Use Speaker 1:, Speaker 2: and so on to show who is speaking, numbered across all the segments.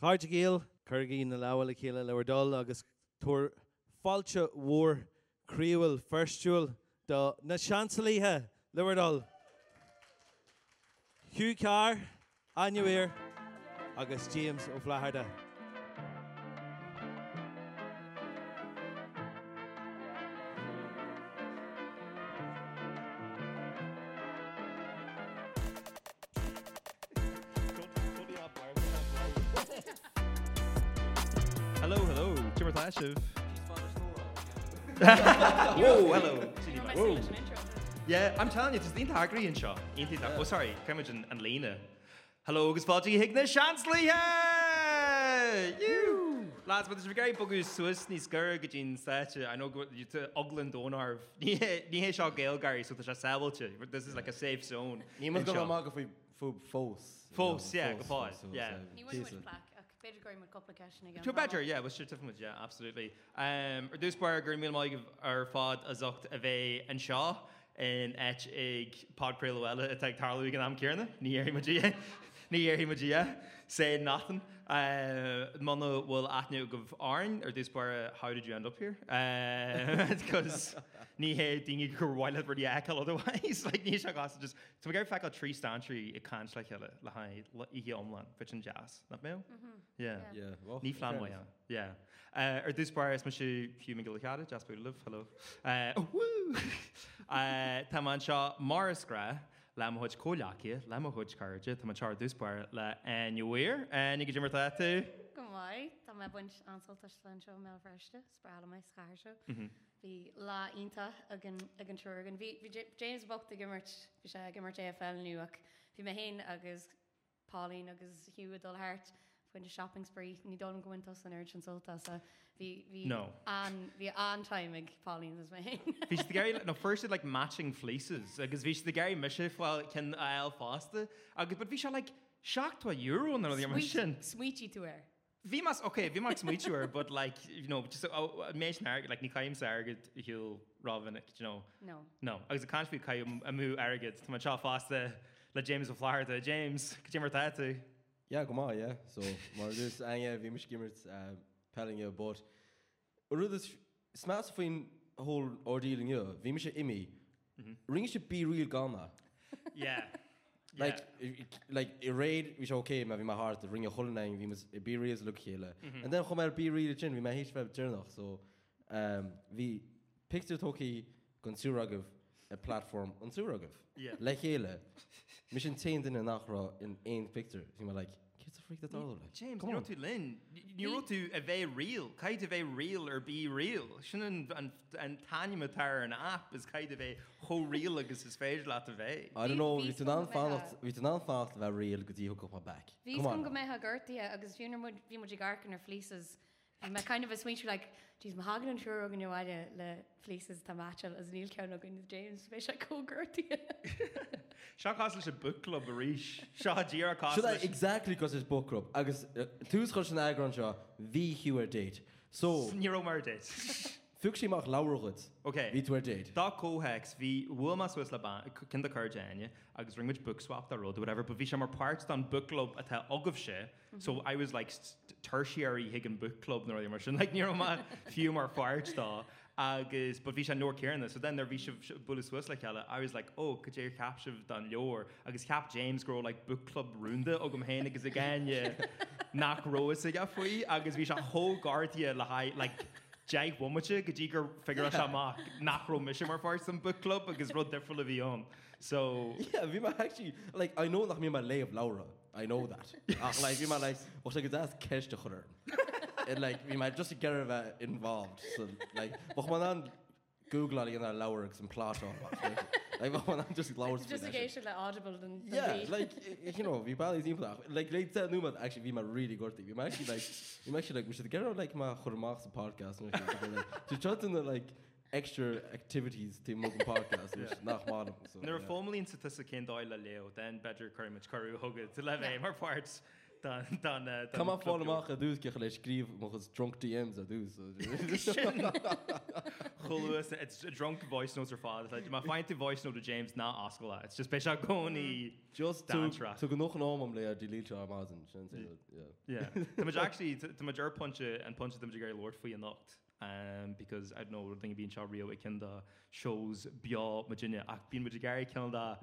Speaker 1: Cáte géal chugéí na lehla chéile leir dul agus tuair fáilte mhór críúil firstúil do na seansalíthe leharáil. Hugh Carr, Anúir agus James ó Flaharda.
Speaker 2: Hello, hello. Timber Thlashov. Whoa, hello. Whoa. Yeah, I'm telling you, it's the integrity in shot. Oh, sorry, Kermit and, and Lena. Hello, agus Fáji Higgins Shansley. Hey! You! Lads, but there's a guy bugu Swiss ní sgur go dín sete. I know go you to Ogland Donarv. Ní ní hé seo gael Gary so there's a savelche. This is like a safe zone.
Speaker 3: Nímas
Speaker 2: in
Speaker 3: go
Speaker 2: Seo.
Speaker 3: má go faoi fó fós.
Speaker 2: Fós, yeah, go fós, yeah.
Speaker 4: Ní bhain muid plac, ach beidir goim muid coppla ceisina gan.
Speaker 2: To badger, yeah, was sure different, yeah, absolutely. Um, or dus bar gur mil maig ar fad a zocht a ve an shaw in etch ag pod pre luella a tag tarlu gan am kierna ni er magia ni er magia say nothing. Uh, Mono will atnu gov arn or dus bar how did you end up here? Because ni he dingy gur wild for the acal otherwise like ni shagas just to go fac a tree stantry it can't like hella lahai ihe omlan which in jazz not mail yeah.
Speaker 4: Mm-hmm. Yeah.
Speaker 2: Ní flan wa. Yeah. Uh, ar dús bar is muisi fiúmin gochada, Jasper Love, hello. Uh, oh, woo! uh, tá man seo Morris gra, lam hoid cólaci, lam hoid carja, tá man char dús bar le anhuir, an ige jimmer tú.
Speaker 4: Go mai, Tá me buint ansoltas len seo mé freiste, sprála mai schairse. Bhí lá ínta agan trúgan. Bhí Ja- James Bocht a gimmert bhí sé gimmert AFL nuach. Bhí mé hain agus Pauline agus Hugh adul heart foin de shopping spree, ní don gohaintas an urgent soltas a bhí bhí
Speaker 2: No.
Speaker 4: an bhí an timeig Pauline is mé hain.
Speaker 2: Bhís de gair, no first like matching fleeces, agus bhís de gair muisi fáil cin ail fásta, agus but bhí seo like shocked a euro na the immersion.
Speaker 4: Sweetie tú air.
Speaker 2: Bhí mas okay, bhí mar smuitiúir, but like, you know, just oh, méis nar, like ní caim sa agad hiúil rovinnic, you know.
Speaker 4: No.
Speaker 2: No, agus a canfi cai a mú agad Tá seo fásta le James a Florida James go mar tatu.
Speaker 3: Ja go má, ja, so mar dus aine bhí mis gimmert uh, pelling a bot. Ru smas faoin hó ordíling jo, bhí me sé imi.
Speaker 2: Mm-hmm.
Speaker 3: Ring se bí riil gana.
Speaker 2: Yeah.
Speaker 3: Like i réid vis oké me vi ma hart ringe hollein vi bí réels lu chéle. En den chom er bí riile tjin, vi ma héis web journalch so um, vi picturetoki gon suraguf a platform an suraguf.
Speaker 2: Yeah.
Speaker 3: Le chéle. Mis sin te in a nachra in ein picture vi ma like ki a fri dat all.
Speaker 2: James you tú lin Ní tú a bheith real caiid a bheith real ar bí real sin an an tanimetar an app is caiid a bheith cho real agus is féidir le a bheith.
Speaker 3: I don't
Speaker 4: Bhí-
Speaker 3: know
Speaker 4: bhí
Speaker 3: vi
Speaker 4: scum go bheith
Speaker 3: vi anfalt ver réel godí ho op back.
Speaker 4: Bhís gom go méthe gortaí agus bhíonar mud bhí mu garcan ar flísas. Me kind of a sweet like dís ma hagan an siúr gan bhile le flísas tá matil as níl ceann gan James bheit se cógurtaí.
Speaker 2: Seoá leis a book club a ríis Seodíar
Speaker 3: Should I
Speaker 2: cá
Speaker 3: exactly because it's book club. Agus túús chu an agran seo hí hiúar date. So
Speaker 2: Níró mar date.
Speaker 3: Fug sé mar lawergad
Speaker 2: Okay.
Speaker 3: ví tú déid.
Speaker 2: Da cóhex hí bhfuil Swiss le cin chuirdeine agus ringid book swap a road, whatever, but bhí sem mar part an book club atá agah sé, so I was like st- tertiary higgin book club nó mar sin, like ní má fiú mar fart dá agus but bhí sé nóir ceanna, so den bhí se bu Swiss le cheile, I was like, oh, go dé capseh don leor, agus cap James grow like book club runúnda ó gom héna agus a gine nach rois a faoi agus bhí se thógardia le haid like Jack Womache, could you go figure out Shama Nacro Mishamar for some book club because Rod Different of Yon. So,
Speaker 3: Yeah, vi mar actually like I know nach mé mar lei of Laura. I know that. Ach, like vi mar like och like das cash de chuder. And like vi mar just get her involved. So like och man an Google ali an Laura an plot on. Like och man an just Laura.
Speaker 4: Just a géisi le audible den
Speaker 3: Yeah, like y- you know, vi ball is implach. Like they tell new but actually vi mar really good thing. Vi mar actually like vi mar actually like we should get out like ma chormachs podcast and everything. like to chat in the like extra activities to make a podcast which nach man. So
Speaker 2: there are
Speaker 3: yeah.
Speaker 2: formerly in Statistic in Doyle Leo, then Bedger Curry Mitch Curry Hugged to Leve Mar parts. uh, Tá
Speaker 3: Tá fá amach a dús go leis scríb mochas drunk DMs a dús.
Speaker 2: Choluas, it's a drunk voice notes are fad. Like, my find the voice note to James, not Oscar. It's just special goni.
Speaker 3: Just
Speaker 2: Dan track.
Speaker 3: tu go noch ná am le a dilíte am másin sin sin.
Speaker 2: Yeah. The major actually, the major punch it and punch them to Gary Lord for you knocked. Um, because I don't know, thing being shot real it kind of shows beyond Virginia. I've been with Gary kind of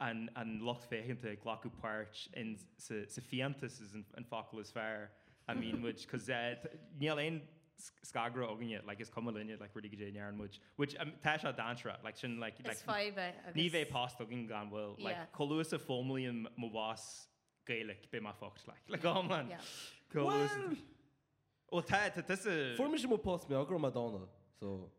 Speaker 2: and and locked for him to Glocku Parch and Sephiantus is in Foculus Fair. I mean, which because Neil Lane Skagra Oginia like is coming in like really good in Yarn, which which um, Tasha Dantra like shouldn't like
Speaker 4: Is
Speaker 2: like
Speaker 4: feibe.
Speaker 2: Nive past ogin gan will like
Speaker 4: Yeah.
Speaker 2: Colus a formally and Mawas Gaelic be my fucked like like oh man
Speaker 4: Yeah.
Speaker 2: Colus Well ta ta this is
Speaker 3: Form sem post mé agur Madonna so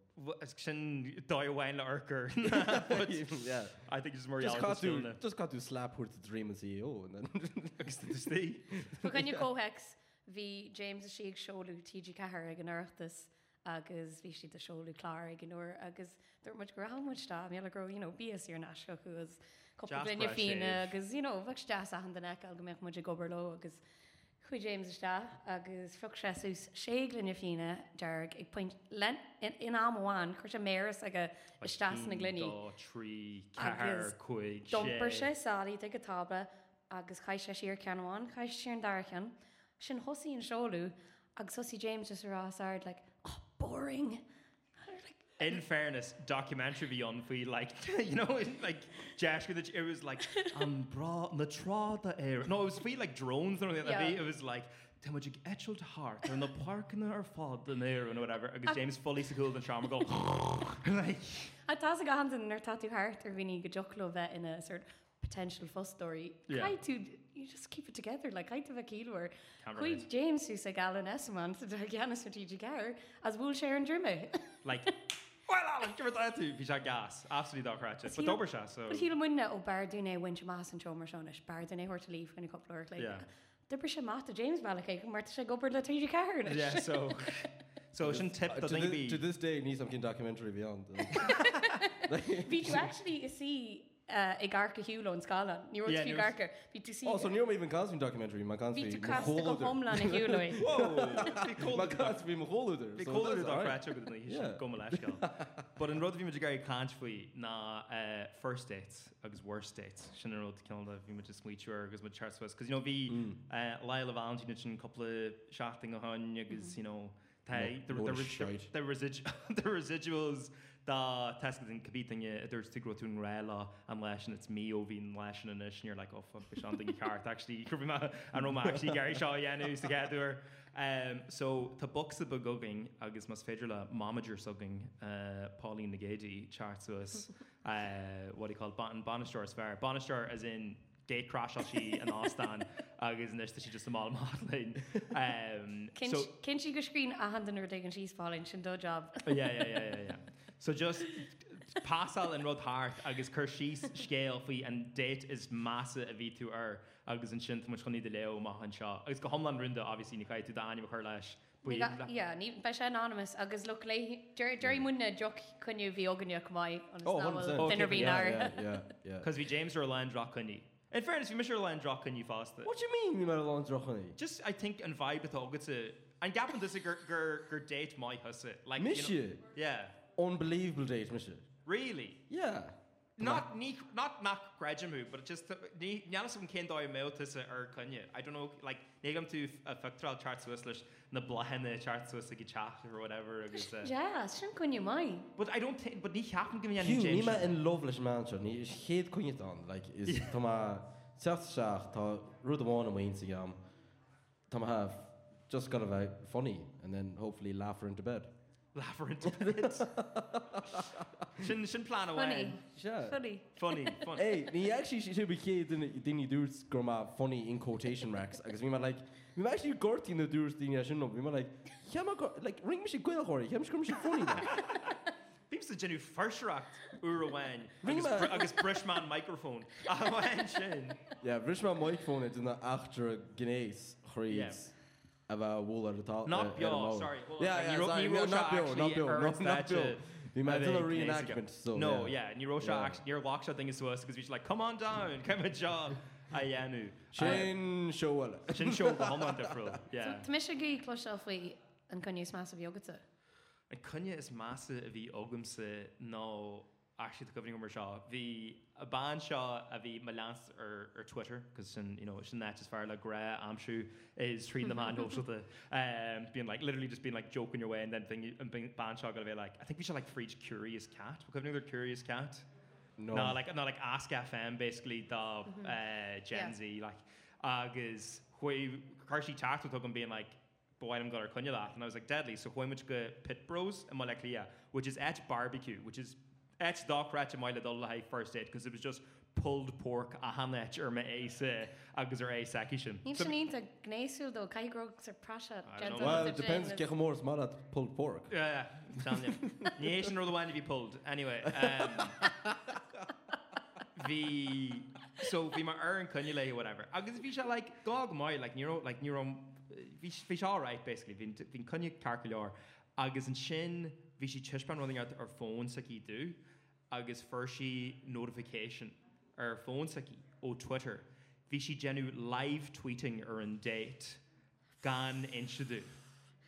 Speaker 2: sin dóir bhhain le arcur
Speaker 3: yeah.
Speaker 2: I think it's more
Speaker 3: Just
Speaker 2: reality
Speaker 3: got
Speaker 2: still
Speaker 3: to
Speaker 2: now.
Speaker 3: just got to slap her to dream as CEO and then
Speaker 2: Agus tá duis tí.
Speaker 4: Fu gan cóhex hí James a siag seolú TG cehar ag an airtas agus bhí si de seolú chlár ag anúair agus dúir muid gorámuid dá mé le gro bías ar nasisio chugus coppa
Speaker 2: Jasper
Speaker 4: blenne
Speaker 2: a
Speaker 4: fine
Speaker 2: sibh.
Speaker 4: agus bheh deas a handanna a go méh muid gobarló agus chu James istá agus fog sé sús sé glunne fine deag ag point len in amháin chuir sé méras aga isteas na gluní.
Speaker 2: Dó, trí
Speaker 4: Agus
Speaker 2: cehar chuig
Speaker 4: Domper sé sáí ag go tabla agus cai sé siar ceanháin cai sé an dachan sin hosaí an seolú agus sosí James just rááir le "Oh, boring
Speaker 2: In fairness, documentary beyond we like, you know, it, like Jash, it it was like, um, bra, na tra da air. No, it was we like drones or something. Yeah.
Speaker 4: Yeah.
Speaker 2: It was like, then would you etch to heart and the park in our fod in there and whatever. Because James fully secured the trauma go, like,
Speaker 4: a tá a gan an ar tatú háart ar bhíine go jolo bheith ina sort potential fostóí.
Speaker 2: Yeah.
Speaker 4: Cai tú you just keep it together le caiit bheith cíúir.
Speaker 2: Cameraman.
Speaker 4: Chuid James ús a galan esman sa ganas strategic air as bhúil sé an drime.
Speaker 2: like, well, Alan, give it that to you. He's gas. Absolutely dog ratchet. But
Speaker 4: heel-
Speaker 2: dober shot, so.
Speaker 4: But híle muine ó bearúna winter más an tomar seis bearúna horir lí fan coplair
Speaker 2: Yeah.
Speaker 4: le. Dipper sé mata James Malaché go mar sé gobar le tuidir cairn.
Speaker 2: Yeah, so. So, it shouldn't tip the
Speaker 3: Uh, to,
Speaker 2: thing
Speaker 3: this,
Speaker 2: be.
Speaker 3: to this day ní am cin documentary beyond
Speaker 4: Bhí tú actually is eh, sí i garcha hiúla an scala, ní
Speaker 2: Yeah,
Speaker 4: roi fiú
Speaker 2: níor-
Speaker 4: garcha, bhí tú sí
Speaker 3: oh so ní even cos documentary má cos
Speaker 4: bhí tú casta go homlan na hiúla.
Speaker 2: Whoa! Be cool
Speaker 3: má
Speaker 2: with the dog.
Speaker 3: cos bhí mo hóúidir
Speaker 2: They call it a Dokracha, but then he
Speaker 3: Yeah.
Speaker 2: should go Malashka. But in Rodvi Majigari Kanchfui, na uh, first dates, agus worst dates, Shinna Road to Kilda, Vima just Smeecher, agus my charts was. Because, you know, the
Speaker 3: Mm.
Speaker 2: uh, Lyle Valentine, it's a couple of shafting a hun, agus, you know, the, the, the,
Speaker 3: load of
Speaker 2: the,
Speaker 3: Mm-hmm. shite.
Speaker 2: the, residu- the residuals da tasking and competing it there's to grow to rela and lashing it's me over in lashing and ish and you're like oh fuck we're something cart actually you could remember I know my actually Gary Shaw yeah news to get there um so to box the bugging I guess must federal momager sugging uh Pauline Nagadi charts to us uh what do you call it bon bonister is fair bonister as in day crash she and Austin I guess and this she just a model modeling um so
Speaker 4: Cin si go scrín a handanú ag an síos fáin sin dó job.
Speaker 2: yeah, yeah, yeah, yeah, yeah. So just Pascal and Rod Hart, agus Kershis scale fi and date is massa a V2R, agus an sin much chunni de leo ma han sha. Agus go homlan rinda, obviously, ni kai tu da anima kerlash.
Speaker 4: Iá, ní bei sé anonymous agus lu lei deirí muna joc chuniu bhí oganne go maiid
Speaker 3: Oh, 100%.
Speaker 4: an inar bhí
Speaker 3: yeah,
Speaker 4: ná.
Speaker 3: yeah, yeah.
Speaker 2: Because we James or Land Rock and In fairness, you miss your Land Rock and you fast it.
Speaker 3: What do you mean ní mar lá drochaní?
Speaker 2: Just, I think, and vibe with all good to. And Gavin does a gur gur gur date my hussy. Like,
Speaker 3: Miss
Speaker 2: you know,
Speaker 3: you
Speaker 2: Yeah.
Speaker 3: unbelievable date miss you
Speaker 2: Really?
Speaker 3: yeah
Speaker 2: Not ni not not graduate, but just ni niana some kind of email to say or can you? I don't know. Like they come to uh, a factoral chart Swiss lish na blahena chart Swiss like chat or whatever. I guess, uh,
Speaker 4: Ja, sin cuniu mai.
Speaker 2: But I don't think. But ni happen give me any
Speaker 3: Hugh ní
Speaker 2: change.
Speaker 3: mar in loveless man ní is héad chuine an like is tá má seach seach tá rud amháin am aonsa am Tá má have just got a bheith funny and then hopefully laugh her into bed
Speaker 2: Labyrinth. Shin shin plan away.
Speaker 4: Funny.
Speaker 3: Yeah.
Speaker 4: Funny.
Speaker 2: Funny. Funny.
Speaker 3: Hey, ní actually si sé ché daoine dúirs go má funny in quotation marks agus bhí mar like bhí mar actually gortí na dúirs daoine sin bhí mar like cheam like ring me sé gcuilthirí cheam scrum sé funny like.
Speaker 2: Beeps the genu first rocked Urawan.
Speaker 3: Ring
Speaker 2: Agus
Speaker 3: me-
Speaker 2: br- agus Brishman microphone. Awan shin.
Speaker 3: Yeah, bris má microphone duna achtar gnééis
Speaker 2: Yeah.
Speaker 3: chríos a bheith bhil ar atá
Speaker 2: Not
Speaker 3: ar- ar
Speaker 2: Beo,
Speaker 3: am Oll.
Speaker 2: sorry. Well,
Speaker 3: Uh, Yeah,
Speaker 2: like,
Speaker 3: yeah,
Speaker 2: Nero-
Speaker 3: sorry,
Speaker 2: Nerosha
Speaker 3: yeah, not Beo,
Speaker 2: actually
Speaker 3: not Beo,
Speaker 2: earns
Speaker 3: not- not
Speaker 2: that,
Speaker 3: Beo.
Speaker 2: uh,
Speaker 3: Bhí mar
Speaker 2: I
Speaker 3: dul a
Speaker 2: think, days ago.
Speaker 3: reenactment, so,
Speaker 2: No,
Speaker 3: yeah.
Speaker 2: yeah, and Nerosha
Speaker 3: Yeah.
Speaker 2: actually, Nerosha thing is to us because we're just like, come on down, come a job. Uh, a dhéanú.
Speaker 3: Sin seohile.
Speaker 2: Sin seo go thoán defriúil.
Speaker 4: Tá mis gaí cloisiil faoi an conníos más a bhiogatta.
Speaker 2: An cunne is massa a bhí ógamsa nó actually the governing mar seo. Bhí a ban seo a bhí malans ar, ar Twitter, because sin, you know, sin that is far like gra amshu is treating the man also the um, being like literally just being like joking your way and then thing and being ban seo gonna be like I think we should like free curious cat. We're governing their curious cat.
Speaker 3: No.
Speaker 2: No, no like no like Ask FM basically the mm-hmm. uh, Gen yeah.
Speaker 4: Yeah.
Speaker 2: Z like agus chuoi carshi tacht with him being like but why I'm gonna cunya that and I was like deadly so when much go pit bros and like yeah which is etch barbecue which is etch doc ratch and my little like first date because it was just pulled pork a hanetch or my ace agus or ace akishin
Speaker 4: Ní sin ínta gnéisiú do caigro ar prasa
Speaker 2: I don't know.
Speaker 3: Well, it depends. Get more is mad at pulled pork.
Speaker 2: yeah I'm telling you Nation or the one to be pulled anyway um, the so er be my iron cunule whatever I guess if you shall like dog my like neuro like neuro fish all right basically been been cunya carcular agus and shin vishi chishpan running out our phone saki do agus firshi notification our phone saki or Twitter vishi genu live tweeting or in date gan inshadu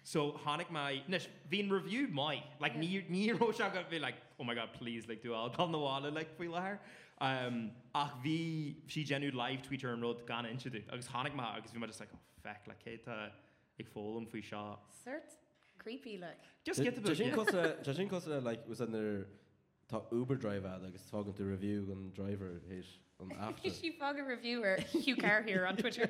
Speaker 2: so Hanik my nish been reviewed my like
Speaker 4: Yeah.
Speaker 2: near near Roshan got be like oh my god please like do all on the wall like we her um ach vi she genu live tweeter and wrote gan inshadu agus Hanik ma agus vi ma just like oh feck like Kate ik follow him fi shot
Speaker 4: Sirt creepy le.
Speaker 2: just get the book yeah.
Speaker 3: Jajin Costa, like, was in their tá Uber driver ad agus fágan tú review an driver héis an after.
Speaker 4: She fog a reviewer Hugh Carr here on Twitter.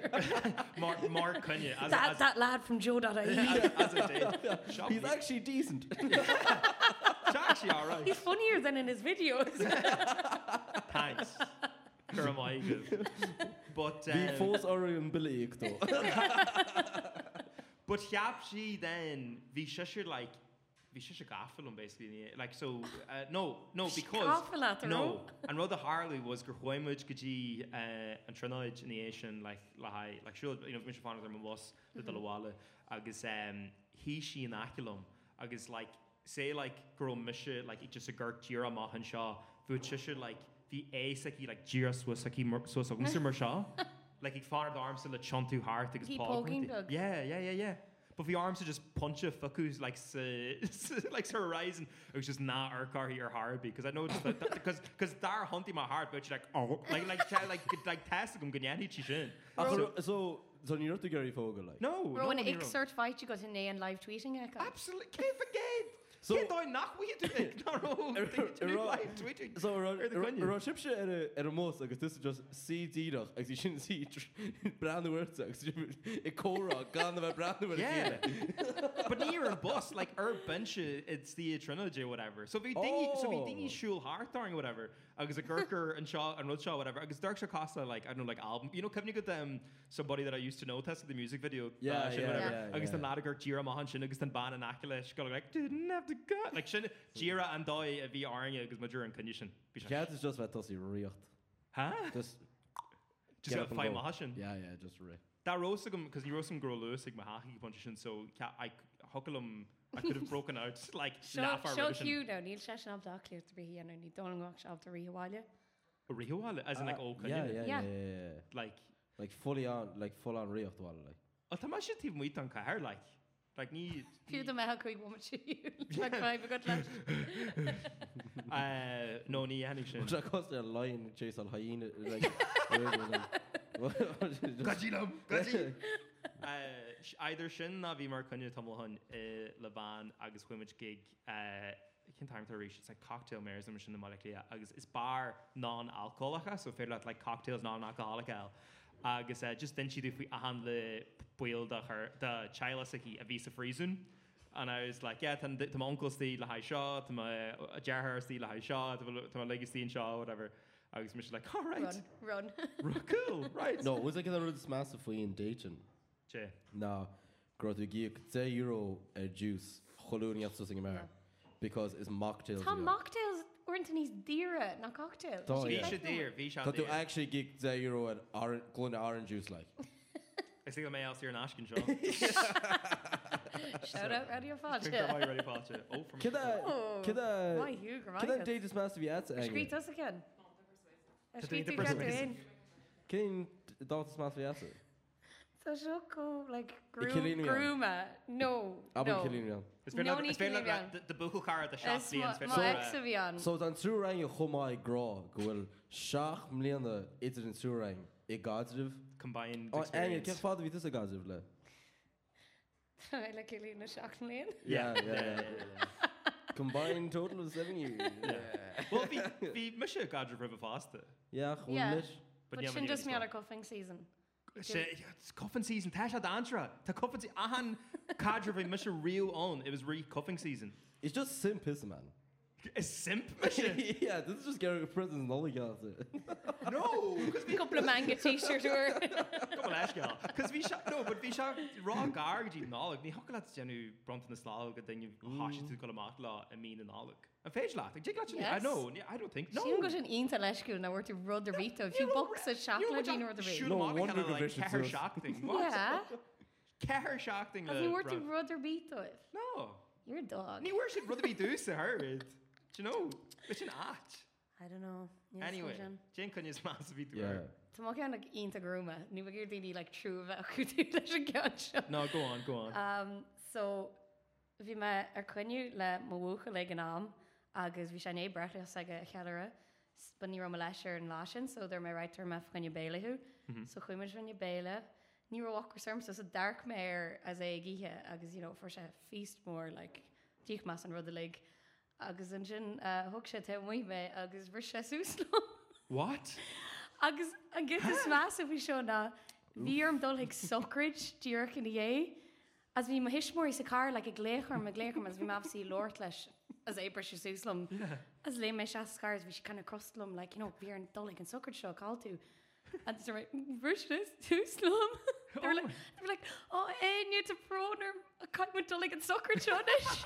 Speaker 2: Mark Mark Cunha as, a-
Speaker 4: that,
Speaker 2: as, as,
Speaker 4: that lad from Joe.ie.
Speaker 2: as, as a date. Shop
Speaker 3: He's
Speaker 2: He's actually,
Speaker 3: actually decent.
Speaker 2: actually all right.
Speaker 4: He's funnier than in his videos.
Speaker 2: Thanks. Cur am I good. But
Speaker 3: Bhí
Speaker 2: um,
Speaker 3: fós áú an bilíag tó.
Speaker 2: but Yapshi then we shusher like we shusher gaffel basically in the- like so uh, no no because
Speaker 4: Gaffel at the
Speaker 2: no
Speaker 4: room.
Speaker 2: and rather Harley was Gerhoimuj Gaji uh, and Trinoj in the Asian like Lahai like sure you know Mr. Fan of them was the
Speaker 4: Mm-hmm.
Speaker 2: Dalawala agus um he she and Aculum agus like say like girl Misha like it just a gurk Jira Mahan Shah food shusher like the a saki like Jira Swasaki Swasaki Mr. Shah like he far the arms to the Chantu Heart because
Speaker 4: He
Speaker 2: Paul
Speaker 4: poking
Speaker 2: Quinty-
Speaker 4: dog.
Speaker 2: yeah, yeah, yeah, yeah. But the arms are just punch of fuckus like se, like her horizon. It was just not our car here hard because I know just like because because they're hunting my heart, but you're like oh like like like like, like testing them ganyani chishin.
Speaker 3: Ach, so, so ní ruta garí fóga le.
Speaker 2: No, no,
Speaker 4: Rowan
Speaker 2: no,
Speaker 4: ik
Speaker 2: no.
Speaker 4: search fight you got in and live tweeting it.
Speaker 2: Absolutely, can't forget. So
Speaker 3: So-
Speaker 2: can't I knock what you doing? No, no,
Speaker 3: Ro-
Speaker 2: you're live tweeting.
Speaker 3: So ra
Speaker 2: Ar do coinne.
Speaker 3: sibse ar ar mós agus tu just sídíach agus sin sí brandúirte agus i córá gan bheith brandúir
Speaker 2: Yeah, but near a bus like our bench, it's the trilogy or whatever. So if you dingy, so if you dingy
Speaker 3: Oh.
Speaker 2: shul heart or whatever, because a Gurker and Shaw and Roadshaw whatever, because Dark Shakasa like I don't know like album. You know, Kevin, you got um somebody that I used to know tested the music video.
Speaker 3: Yeah,
Speaker 2: uh, shin,
Speaker 3: yeah,
Speaker 2: whatever.
Speaker 3: yeah,
Speaker 2: Agus the
Speaker 3: yeah.
Speaker 2: lad Gurk Jira Mahan shin, agus the ban and Akilesh got like didn't have to go like shin Jira and Doi a VR ing because major in condition. Be sure.
Speaker 3: Cead is just bheith tosí riocht.
Speaker 2: Huh?
Speaker 3: Just
Speaker 2: Just
Speaker 3: get
Speaker 2: got
Speaker 3: up and
Speaker 2: five
Speaker 3: go.
Speaker 2: Mahashin.
Speaker 3: yeah, yeah, just ri.
Speaker 2: That Rosigum, because you Rosigum grow Lusig Mahaki Punchishin, so ca- I Huckalum, I could have broken out like Nafar
Speaker 4: Show
Speaker 2: Revision.
Speaker 4: Hugh now. Neil Session of Doc clear to be here and he don't walk up to Rihawala.
Speaker 2: Rihuala, as in like old
Speaker 3: Uh, yeah,
Speaker 2: Kanye.
Speaker 3: yeah,
Speaker 4: Yeah.
Speaker 3: yeah, yeah, yeah.
Speaker 2: Like,
Speaker 3: Like fully on, like full on riocht wala like.
Speaker 2: oh, Tama should even wait on Kahar, like, like, ni.
Speaker 4: Few the meh quick woman to you. Like five a good lad.
Speaker 2: Uh, no, ni Anishin.
Speaker 3: Tra costa a lion chase on hyena like.
Speaker 2: Gajilam, Gaji. Uh, sh- either Shin Navi Marcunya Tumulhun, uh, Laban, Agus Wimich Gig, uh, I can't time to reach. It's like cocktail mares and Shin the Malaklia. Agus is bar non alcoholica, so fair lot like cocktails non alcoholic. Agus uh, just then she do if we ahan the buil da her the chila siki a visa freezing. And I was like, yeah, to, to my uncle's the Lahai Shaw, to my uh, Jarhar's the Lahai Shaw, to my, to my legacy and Shaw, whatever. I was like, all right,
Speaker 4: Run, run.
Speaker 2: cool, right.
Speaker 3: No, was I gonna run this massive way in Dayton?
Speaker 2: Che.
Speaker 3: na grothu geek te euro uh, juice cholun yatsu sing mer because it's mocktails
Speaker 4: Tom mocktails weren't in his deer, uh, not cocktails.
Speaker 3: Oh,
Speaker 4: She
Speaker 3: yeah.
Speaker 4: likes
Speaker 2: Visha
Speaker 4: them.
Speaker 2: dear, Visha
Speaker 3: so to
Speaker 2: dear.
Speaker 3: actually geek te euro at orange going to orange juice like
Speaker 4: Oh.
Speaker 2: I think I may ask you an Ashkin show.
Speaker 4: Shout out Radio Fodge.
Speaker 2: ready for it. Oh, from
Speaker 3: kida
Speaker 4: Oh, Why
Speaker 3: kida
Speaker 4: Hugh
Speaker 3: kida
Speaker 4: Grant?
Speaker 3: date this massive yatsu
Speaker 4: Screet us again.
Speaker 2: Screet
Speaker 4: Screet
Speaker 2: the
Speaker 4: us
Speaker 2: person.
Speaker 4: again.
Speaker 3: Cyn dod mas fi asu?
Speaker 4: So she'll go like groom,
Speaker 3: Killeen Wheel.
Speaker 4: groomer. No.
Speaker 3: Abwn
Speaker 4: no.
Speaker 3: cilin iawn.
Speaker 2: It's been
Speaker 4: No
Speaker 2: like,
Speaker 4: ní
Speaker 2: it's been like
Speaker 4: cinniú
Speaker 2: that-
Speaker 4: bhean.
Speaker 2: the, the buckle car at the uh, shop.
Speaker 4: Is ma- ma ex a bhí an.
Speaker 3: So dan trwy rhaid yw chwma i gro gwyl siach mlaen y idr yn trwy rhaid i gadrif.
Speaker 2: combined
Speaker 3: O, enw,
Speaker 2: experience.
Speaker 3: cech ffad fi ddys y gadrif le?
Speaker 4: le cilín na seach mlíon.
Speaker 2: Yeah,
Speaker 3: yeah,
Speaker 2: yeah,
Speaker 3: yeah, Combined total of seven years.
Speaker 2: well, be be Misha Godric River faster.
Speaker 3: Yeah,
Speaker 4: Yeah.
Speaker 3: chwmlish.
Speaker 4: But sin just me ar a coughing season.
Speaker 2: It's cuffing season. Tasha Dantra. Ta cuffing season. Ahan Cadriv and Misha real on. It was re cuffing season.
Speaker 3: It's just simp piss, man.
Speaker 2: A simp Misha.
Speaker 3: yeah, this is just getting a prison and all the guys.
Speaker 2: no.
Speaker 4: Couple of manga t-shirt or
Speaker 2: Come on, Ashgal. Because we shot no, but we shot raw garg di nolig. Ni hokkal at genu brunt in the slog and then you hash it to call a matla and mean and nolig. And fage lat. Jig lat. I
Speaker 4: Yes.
Speaker 2: know. I don't think. No.
Speaker 4: Sin go an ínta leisciú na bhir tú rud a víta, if you box a seaachla dín rud a
Speaker 2: Shoot
Speaker 4: víta.
Speaker 2: no
Speaker 3: No
Speaker 2: wonder
Speaker 3: wonder
Speaker 2: kind of like
Speaker 3: Division
Speaker 2: care
Speaker 3: Zeus.
Speaker 2: shock thing. What?
Speaker 4: Yeah.
Speaker 2: Care shock thing.
Speaker 4: Have
Speaker 2: uh,
Speaker 4: you worked
Speaker 2: Brad.
Speaker 4: in rud a víta?
Speaker 2: No.
Speaker 4: You're a dog.
Speaker 2: Ni where should brother be do to her? Do you know? It's an art.
Speaker 4: I don't know.
Speaker 2: Anyway, Jane can use mass be to
Speaker 3: Yeah.
Speaker 2: her.
Speaker 4: Tá má ceanna ínta grúma, ní bh gur daoine le trúbh a chutú leis an cean
Speaker 2: No, go on, go on.
Speaker 4: Um, so bhí me ar cuinniú le mhúcha le an am agus bhí sé é brethas aige cheara buní rom leis ar an lásin, so d mé réitar me chuinne béilethú, so chuimiid rinne béile. Ní rohhachar sem so dark méir as é gíthe agus you know, for sé feast mór like, tíoch más an rud a le agus an sin uh, thug sé te mu mé agus bhir sé súslá.
Speaker 2: What?
Speaker 4: Agus an git is más a bhí seo na bhíarm dul ag socrid dúr in dhé. As bhí ma hisismóí sa car le ag léchar a léchar as bhí mabsí lát leis as ébre se súslam. As lé mé se scars bhí canna crostlum le nó bhí an dolig an socrid seo cáú. "Mm, Virtuous túslum. They're like, they're like, oh, eh, need to proner a cut with dolig and soccer chonish.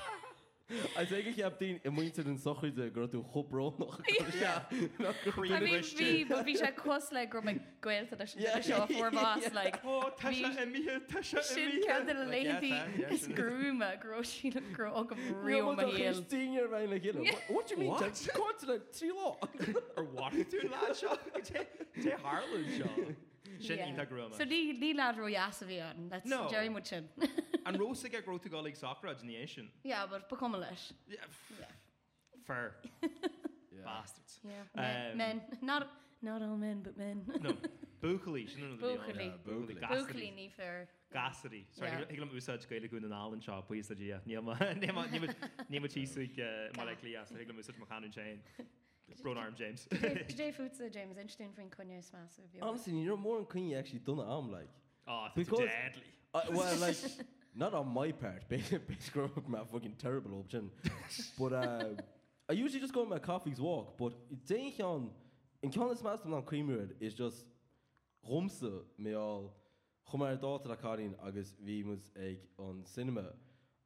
Speaker 3: I think ik heb die in moeite in sochi de grote hopro nog.
Speaker 2: Yeah.
Speaker 4: I
Speaker 2: Cream
Speaker 4: mean,
Speaker 2: wish
Speaker 4: vi,
Speaker 2: to.
Speaker 4: but vi sé cos le gro me gweil a
Speaker 3: Yeah.
Speaker 4: seo for vás like.
Speaker 2: Oh, Tasha
Speaker 4: Bhí-
Speaker 2: and Mia, Tasha and
Speaker 4: Sin
Speaker 2: Mia.
Speaker 4: cean le léí is grúm a groisiú gro a riom a héal.
Speaker 3: Tien jaar bijna gillen.
Speaker 4: Yeah.
Speaker 3: What- What do you mean?
Speaker 2: What?
Speaker 3: That's constant. Three law.
Speaker 2: Or what? Dude, lad, Shaw. Jay Harlan, Shaw. Shin Inta
Speaker 4: So
Speaker 2: Groma.
Speaker 4: ní ní lá roi as a bhí an, that's
Speaker 2: No.
Speaker 4: Jerry mu sin.
Speaker 2: And Rosa get growth to go like soccer in the Asian.
Speaker 4: Yeah, but pa cum leis.
Speaker 2: Yeah. f- Fair. Bastards.
Speaker 4: Yeah.
Speaker 2: Um,
Speaker 4: Men, men, not not all men, but men.
Speaker 2: No. Buchali. Shin
Speaker 4: Buachally.
Speaker 3: Buachally.
Speaker 4: Buchlí ní fer.
Speaker 2: Gasity. Sorry,
Speaker 4: Yeah.
Speaker 2: yeah. I'm usage gaile gún an Allen shop pwys da gia. Niema, niema, niema, niema tísig malekli as. I'm usage machan and chain. Brown arm James.
Speaker 4: Jay Foots a James interesting frin cunne is mass of you.
Speaker 3: Honestly, you know more than Queen you actually done it. I'm like,
Speaker 2: Oh, it's
Speaker 3: Because-
Speaker 2: deadly.
Speaker 3: I, Uh, well, like, not on my part. Basically, growing up my fucking terrible option. But uh, I usually just go on my coffee's walk. But saying on in Connor's master on creamer is just rumse me all. Chumar dát a carín agus bhí mus ag an cinema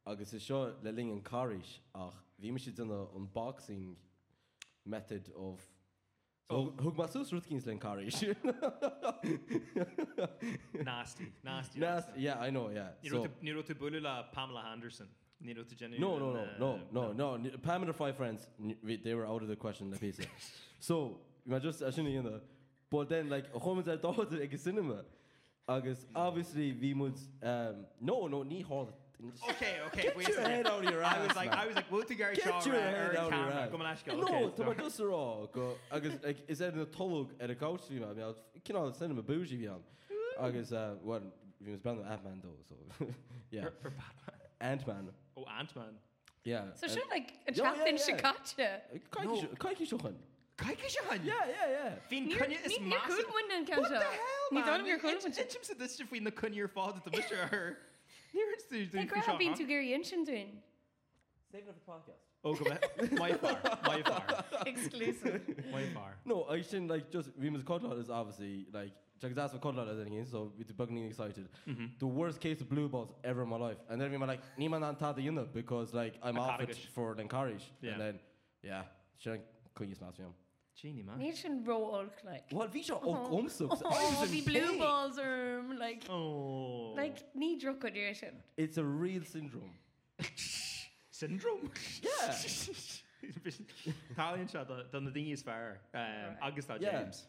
Speaker 3: agus is seo le ling an caris ach bhí mu si duna an boxing method of so, oh. thug má sús ruth cíns le an caris.
Speaker 2: Nasty, nasty.
Speaker 3: Yes, yeah, I know, yeah.
Speaker 2: Nero to Nero to Bulula Pamela Anderson. Nero to Jenny.
Speaker 3: No,
Speaker 2: and,
Speaker 3: no, no,
Speaker 2: uh,
Speaker 3: no, no, no. n- Pam and her five friends, n- we- they were out of the question, the piece. so, I just, I shouldn't, you know. But then, like, home is out like a cinema. Agus, obviously, we must, um, no, no, knee hall.
Speaker 2: Okay, okay.
Speaker 3: Get
Speaker 2: wait a
Speaker 3: your head
Speaker 2: second.
Speaker 3: out of your ass.
Speaker 2: I was like,
Speaker 3: man.
Speaker 2: I was like, we'll to Gary
Speaker 3: Get
Speaker 2: Shaw.
Speaker 3: your head out of your
Speaker 2: camera.
Speaker 3: ass.
Speaker 2: Come on, Ashka.
Speaker 3: No,
Speaker 2: okay,
Speaker 3: to my just raw. Go, agus, like, is that in a tolog at a couch to me, man? I was, you know, cinema bougie, man.
Speaker 2: Mm.
Speaker 3: Agus, uh, well, we was banned Ant-Man, though, so, yeah.
Speaker 2: For, for Batman.
Speaker 3: Ant-Man,
Speaker 2: Oh, Ant Man.
Speaker 3: yeah.
Speaker 4: So
Speaker 2: uh,
Speaker 3: and- uh,
Speaker 4: sin like a
Speaker 3: Yeah,
Speaker 4: chat
Speaker 3: yeah,
Speaker 4: in
Speaker 3: yeah.
Speaker 4: Chicacha.
Speaker 2: No.
Speaker 3: Kaiki Shohan.
Speaker 2: Kai Kishan.
Speaker 3: Yeah, yeah, yeah.
Speaker 2: Fin
Speaker 4: Ní
Speaker 2: Kunya is
Speaker 4: ní
Speaker 2: massive.
Speaker 4: cúlmun an
Speaker 2: What the
Speaker 4: ceanto.
Speaker 2: hell,
Speaker 4: Ní
Speaker 2: man?
Speaker 4: dám gur
Speaker 2: Ní-
Speaker 4: cúlmun.
Speaker 2: in- in terms of this, if we na Kunya fall to the Mishra. Nearest to the
Speaker 4: Tá gra bín tú gurí in sin doin.
Speaker 3: Saving it for podcast.
Speaker 2: Oh, come on. My far. My far.
Speaker 4: Exclusive.
Speaker 2: My far.
Speaker 3: No, I shouldn't like just we must Codlot is obviously like check that's what Codlot is anything, so we're bugging excited. Mm-hmm. The worst case of blue balls ever in my life. And then we were like, Niman Antata Yuna because like I'm off it
Speaker 2: Akaragish.
Speaker 3: for Lankarish. Yeah.
Speaker 2: Yeah.
Speaker 3: And then yeah, shouldn't couldn't you smash me on.
Speaker 2: Genie, man.
Speaker 4: Ní sin róolk like.
Speaker 3: What Visha
Speaker 2: Uh-huh.
Speaker 3: oh gumsucks.
Speaker 4: Oh, the blue balls arm, like,
Speaker 2: Oh.
Speaker 4: like knee drug condition.
Speaker 3: It's a real syndrome.
Speaker 2: Syndrome?
Speaker 3: Yeah.
Speaker 2: Táonn se don na daine is um, fear
Speaker 4: Right.
Speaker 2: agus tá
Speaker 3: Yeah.
Speaker 2: James.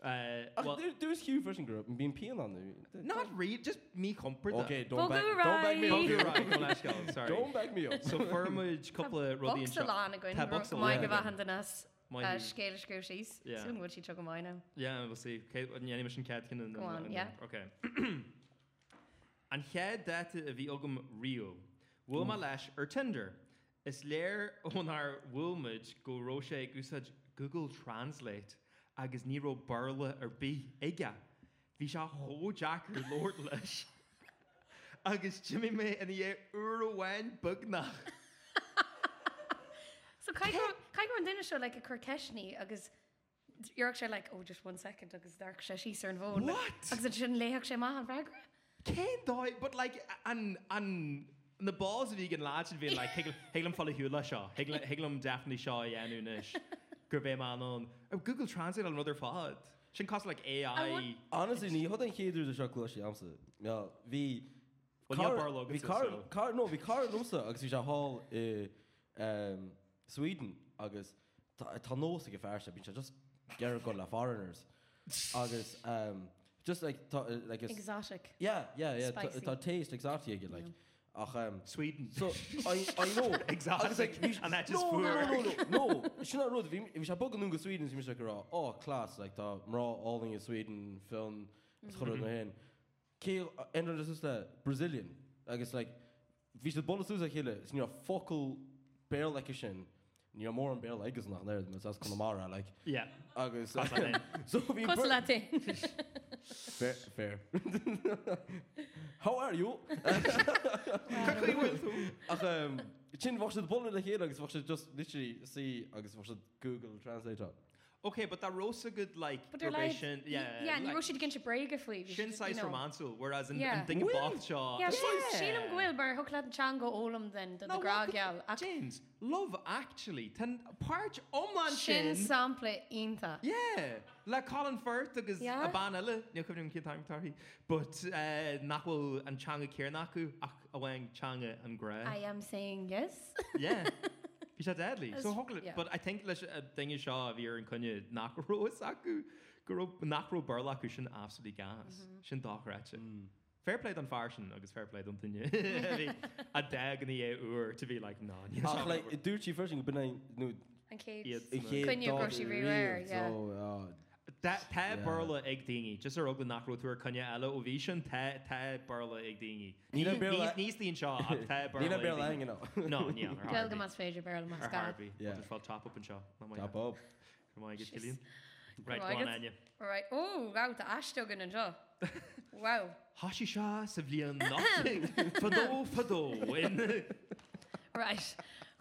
Speaker 2: Uh,
Speaker 3: Ach,
Speaker 2: well,
Speaker 3: there, there's Hugh Fishing Group and being peeing on there.
Speaker 2: Not really, just me comfort.
Speaker 3: Okay,
Speaker 4: Well,
Speaker 3: don't back, don't back me
Speaker 4: Gurry.
Speaker 2: Don't
Speaker 3: up.
Speaker 2: be
Speaker 3: You're
Speaker 2: right,
Speaker 3: right.
Speaker 2: go let's go, sorry.
Speaker 3: Don't back me up.
Speaker 2: So firmage, couple of ruddy and
Speaker 4: Box a
Speaker 2: shot.
Speaker 4: lán a gin
Speaker 2: Tá box a lán
Speaker 4: go
Speaker 2: againn.
Speaker 4: bhhan as
Speaker 2: Mind you.
Speaker 4: scéile scrúsís
Speaker 2: Yeah.
Speaker 4: sún bhil si tu go maiine.
Speaker 2: Yeah, we'll see. Okay, an yeah, animation cat can and
Speaker 4: Go on, yeah.
Speaker 2: Okay. and head that of the Ogum Rio. Wilma Lash or Tinder. Is lair on our Wilmage go Roche Gusaj Google Translate agus Nero Burla or B Iga. Visha Ho Jack or Lord Lish. Agus Jimmy May and the Uruwan Bugna.
Speaker 4: So cai go an duine seo le a chuceisní agus York sé like, oh, just one second agus dar sé sí ar er an bhin.
Speaker 2: What?
Speaker 4: Agus er sin léach sé má an bhre?
Speaker 2: Ken dói, but like, an, an, na balls of vegan lads would be like, Higlum follow Hula Shaw, Higlum Daphne Shaw, Yanu Nish, Gervais Manon. Oh, Google Translate on another fad. Shouldn't cost like AI.
Speaker 4: want-
Speaker 3: Honestly, ní hod an chéidir de seach leis amsa. Ja, hí
Speaker 2: Well, yeah, Barlow gets it, so-
Speaker 3: car nó bhí car nósa agus bhí se hall i um, Sweden agus tá tá nósa go fearse, bín se just gear go le foreigners agus um, just like tá uh, like it's-
Speaker 4: Exotic.
Speaker 3: yeah, yeah, yeah, tá
Speaker 4: Spicy.
Speaker 3: tá taste exactly again like. Ach, um,
Speaker 2: Sweden.
Speaker 3: So I I know
Speaker 2: Exotic,
Speaker 3: Agus, like, we-
Speaker 2: and that just
Speaker 3: no, no,
Speaker 2: poor.
Speaker 3: no, no, no, no. Sin ar rud bhí se bog anú Sweden si se gorá á oh, class le tá mrá áling in Sweden film
Speaker 2: Mm-hmm.
Speaker 3: chu na hen. Cé en is le Brazilian agus like hí se bolú a chéile s ní a focal bé le sin ní mór an bé agus nach leir mas as chu mar le
Speaker 2: Yeah.
Speaker 3: agus
Speaker 2: That's my name.
Speaker 3: so bhí
Speaker 4: Cos
Speaker 3: bur-
Speaker 4: le te.
Speaker 3: fair fair. How are you?
Speaker 2: Quickly will through.
Speaker 3: Ach, um, sin was het bolle hé agus was het just literally si agus was het Google Translate an.
Speaker 2: Okay, but that roasts a good like
Speaker 4: But they're like,
Speaker 2: probation-
Speaker 4: yeah, yeah, and you
Speaker 2: like,
Speaker 4: should get your break if we.
Speaker 2: Shin size for Mansell, whereas in, yeah.
Speaker 4: Yeah.
Speaker 2: in Think
Speaker 3: Will?
Speaker 2: Both Shaw.
Speaker 4: Yeah,
Speaker 2: Yeah.
Speaker 4: Sheelam Gwyl bar hwc lad chango olam then, the
Speaker 2: No, what the-
Speaker 4: gragial.
Speaker 2: James, love actually. Ten parch oman shin.
Speaker 4: Shin sample inta.
Speaker 2: Yeah, like Colin Firth agus a
Speaker 4: Yeah.
Speaker 2: ban eile ní cumim cin time tarthaí, but uh, nachfuil an teanga cearna acu ach a bhain teanga an
Speaker 4: I
Speaker 2: gra.
Speaker 4: am saying yes.
Speaker 2: Yeah. Bhí sé deadly. So
Speaker 4: That's-
Speaker 2: hogla, yeah.
Speaker 4: yeah.
Speaker 2: but I think leis a dinge seo a bhí ar an cunne nachró is acu go nachró barla acu sin absolutely gas.
Speaker 4: Mm-hmm.
Speaker 2: Sin dáchráte. Fair play an farsin agus fair play an tinne. A dag an é uair e- to be like ná.
Speaker 3: Ach like it duurt si first bin nu
Speaker 4: And Kate.
Speaker 2: Yeah.
Speaker 4: Couldn't you go she rewire, yeah.
Speaker 3: uh,
Speaker 2: Tá tá
Speaker 3: Yeah.
Speaker 2: barla ag daoine, just ar agla nachró tú cunne eile ó bhí sin tá tá barla ag daoine.
Speaker 3: Ní le barla-
Speaker 2: níos dín seo ach tá barla.
Speaker 3: Ní
Speaker 2: ag
Speaker 3: be
Speaker 2: daoine.
Speaker 3: le an
Speaker 2: No, ní ar
Speaker 4: Gwyl
Speaker 2: Harvey.
Speaker 4: gymas feidr barrel mas
Speaker 2: Ar
Speaker 4: gael.
Speaker 2: Harvey.
Speaker 3: Yeah.
Speaker 2: I'll just fall top up and seo. Na mai-
Speaker 3: Tap op.
Speaker 2: na mai go
Speaker 4: Jeez.
Speaker 2: Cillian. Right,
Speaker 4: mai
Speaker 2: go on,
Speaker 4: go-
Speaker 2: Anya.
Speaker 4: Right. Oh, wow, the ashto gan and jo. Wow.
Speaker 2: Hashi seo sa bblion nothing. Fadó, fadó. in-
Speaker 4: Right.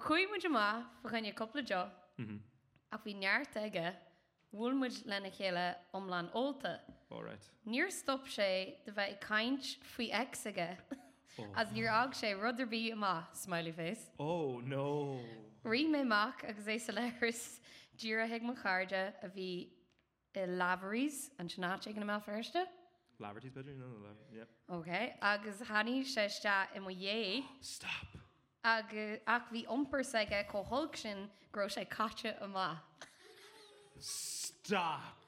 Speaker 4: Chui mwyd yma, ffwchan i'r cwpla jo.
Speaker 2: Mm-hmm.
Speaker 4: Ac fi niart ega, wwl mwyd len y chéle omlan olta.
Speaker 2: All right.
Speaker 4: Níor stop sé de bheith i caiint faoi exige
Speaker 2: Oh.
Speaker 4: as níor ag sé ruderbí má smiley face.
Speaker 2: Oh, no.
Speaker 4: Rí méach agus é sa leiris dúra hiag mo charde a bhí i laveries an sinnáte an má ferste.
Speaker 2: Laverty's bedroom? No, no, Laverty. Yep.
Speaker 4: Ok, agus haní séiste i mo dhé
Speaker 2: Stop.
Speaker 4: agus ach bhí omper aige có thug sin gro sé caite amá.
Speaker 2: Stop.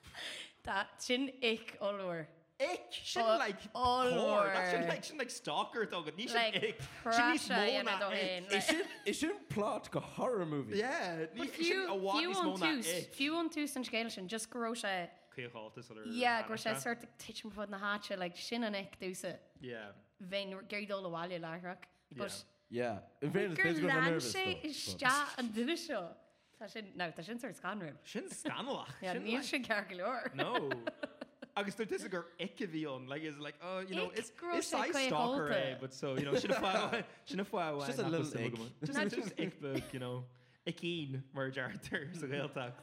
Speaker 4: Tá sin ic óúir.
Speaker 2: Ick. Shouldn't
Speaker 4: Oh,
Speaker 2: like
Speaker 4: all
Speaker 2: porn. That shouldn't
Speaker 4: over.
Speaker 2: like, shouldn't like stalker dog. It needs
Speaker 4: Like,
Speaker 2: ick.
Speaker 4: prasha
Speaker 2: Shouldn't
Speaker 4: dhéanamh
Speaker 2: need
Speaker 4: do
Speaker 2: Mona
Speaker 4: hain,
Speaker 2: ick.
Speaker 4: like-
Speaker 3: Is sin is sin plot go horror movie.
Speaker 2: Yeah. it
Speaker 4: But
Speaker 2: need- it shouldn't-
Speaker 4: few
Speaker 2: a walk
Speaker 4: few
Speaker 2: needs
Speaker 4: on
Speaker 2: Mona
Speaker 4: tús,
Speaker 2: ick.
Speaker 4: few on tús an scéil sin just gro sé.
Speaker 2: Cleo Haltis or
Speaker 4: Yeah, go sé
Speaker 2: Annika.
Speaker 4: suirta tiitim fud na háte le sin an ic dúsa
Speaker 2: Yeah.
Speaker 4: bhéin geirí dó leháile leithreach.
Speaker 2: Yeah.
Speaker 3: Yeah. In fairness,
Speaker 4: Gur
Speaker 3: Ben's gonna be
Speaker 4: lean
Speaker 3: nervous.
Speaker 4: sé
Speaker 3: though,
Speaker 4: is
Speaker 3: but-
Speaker 4: sta an duine seo. Tá sin ná tá sin ar scanrim.
Speaker 2: Sin scandalach.
Speaker 4: níl sin cear go leor.
Speaker 2: No. Agus there's this girl Ikevion, like is like oh you know
Speaker 4: Ick
Speaker 2: it's
Speaker 4: gross
Speaker 2: it's size
Speaker 4: like
Speaker 2: stalker,
Speaker 4: Cuyahoga.
Speaker 2: eh, but so you know shouldn't fly shouldn't fly away.
Speaker 3: Just a little ick.
Speaker 4: Not
Speaker 2: Just just
Speaker 4: just-
Speaker 2: ick book, you know. Ickeen merge Arthur is a real tact.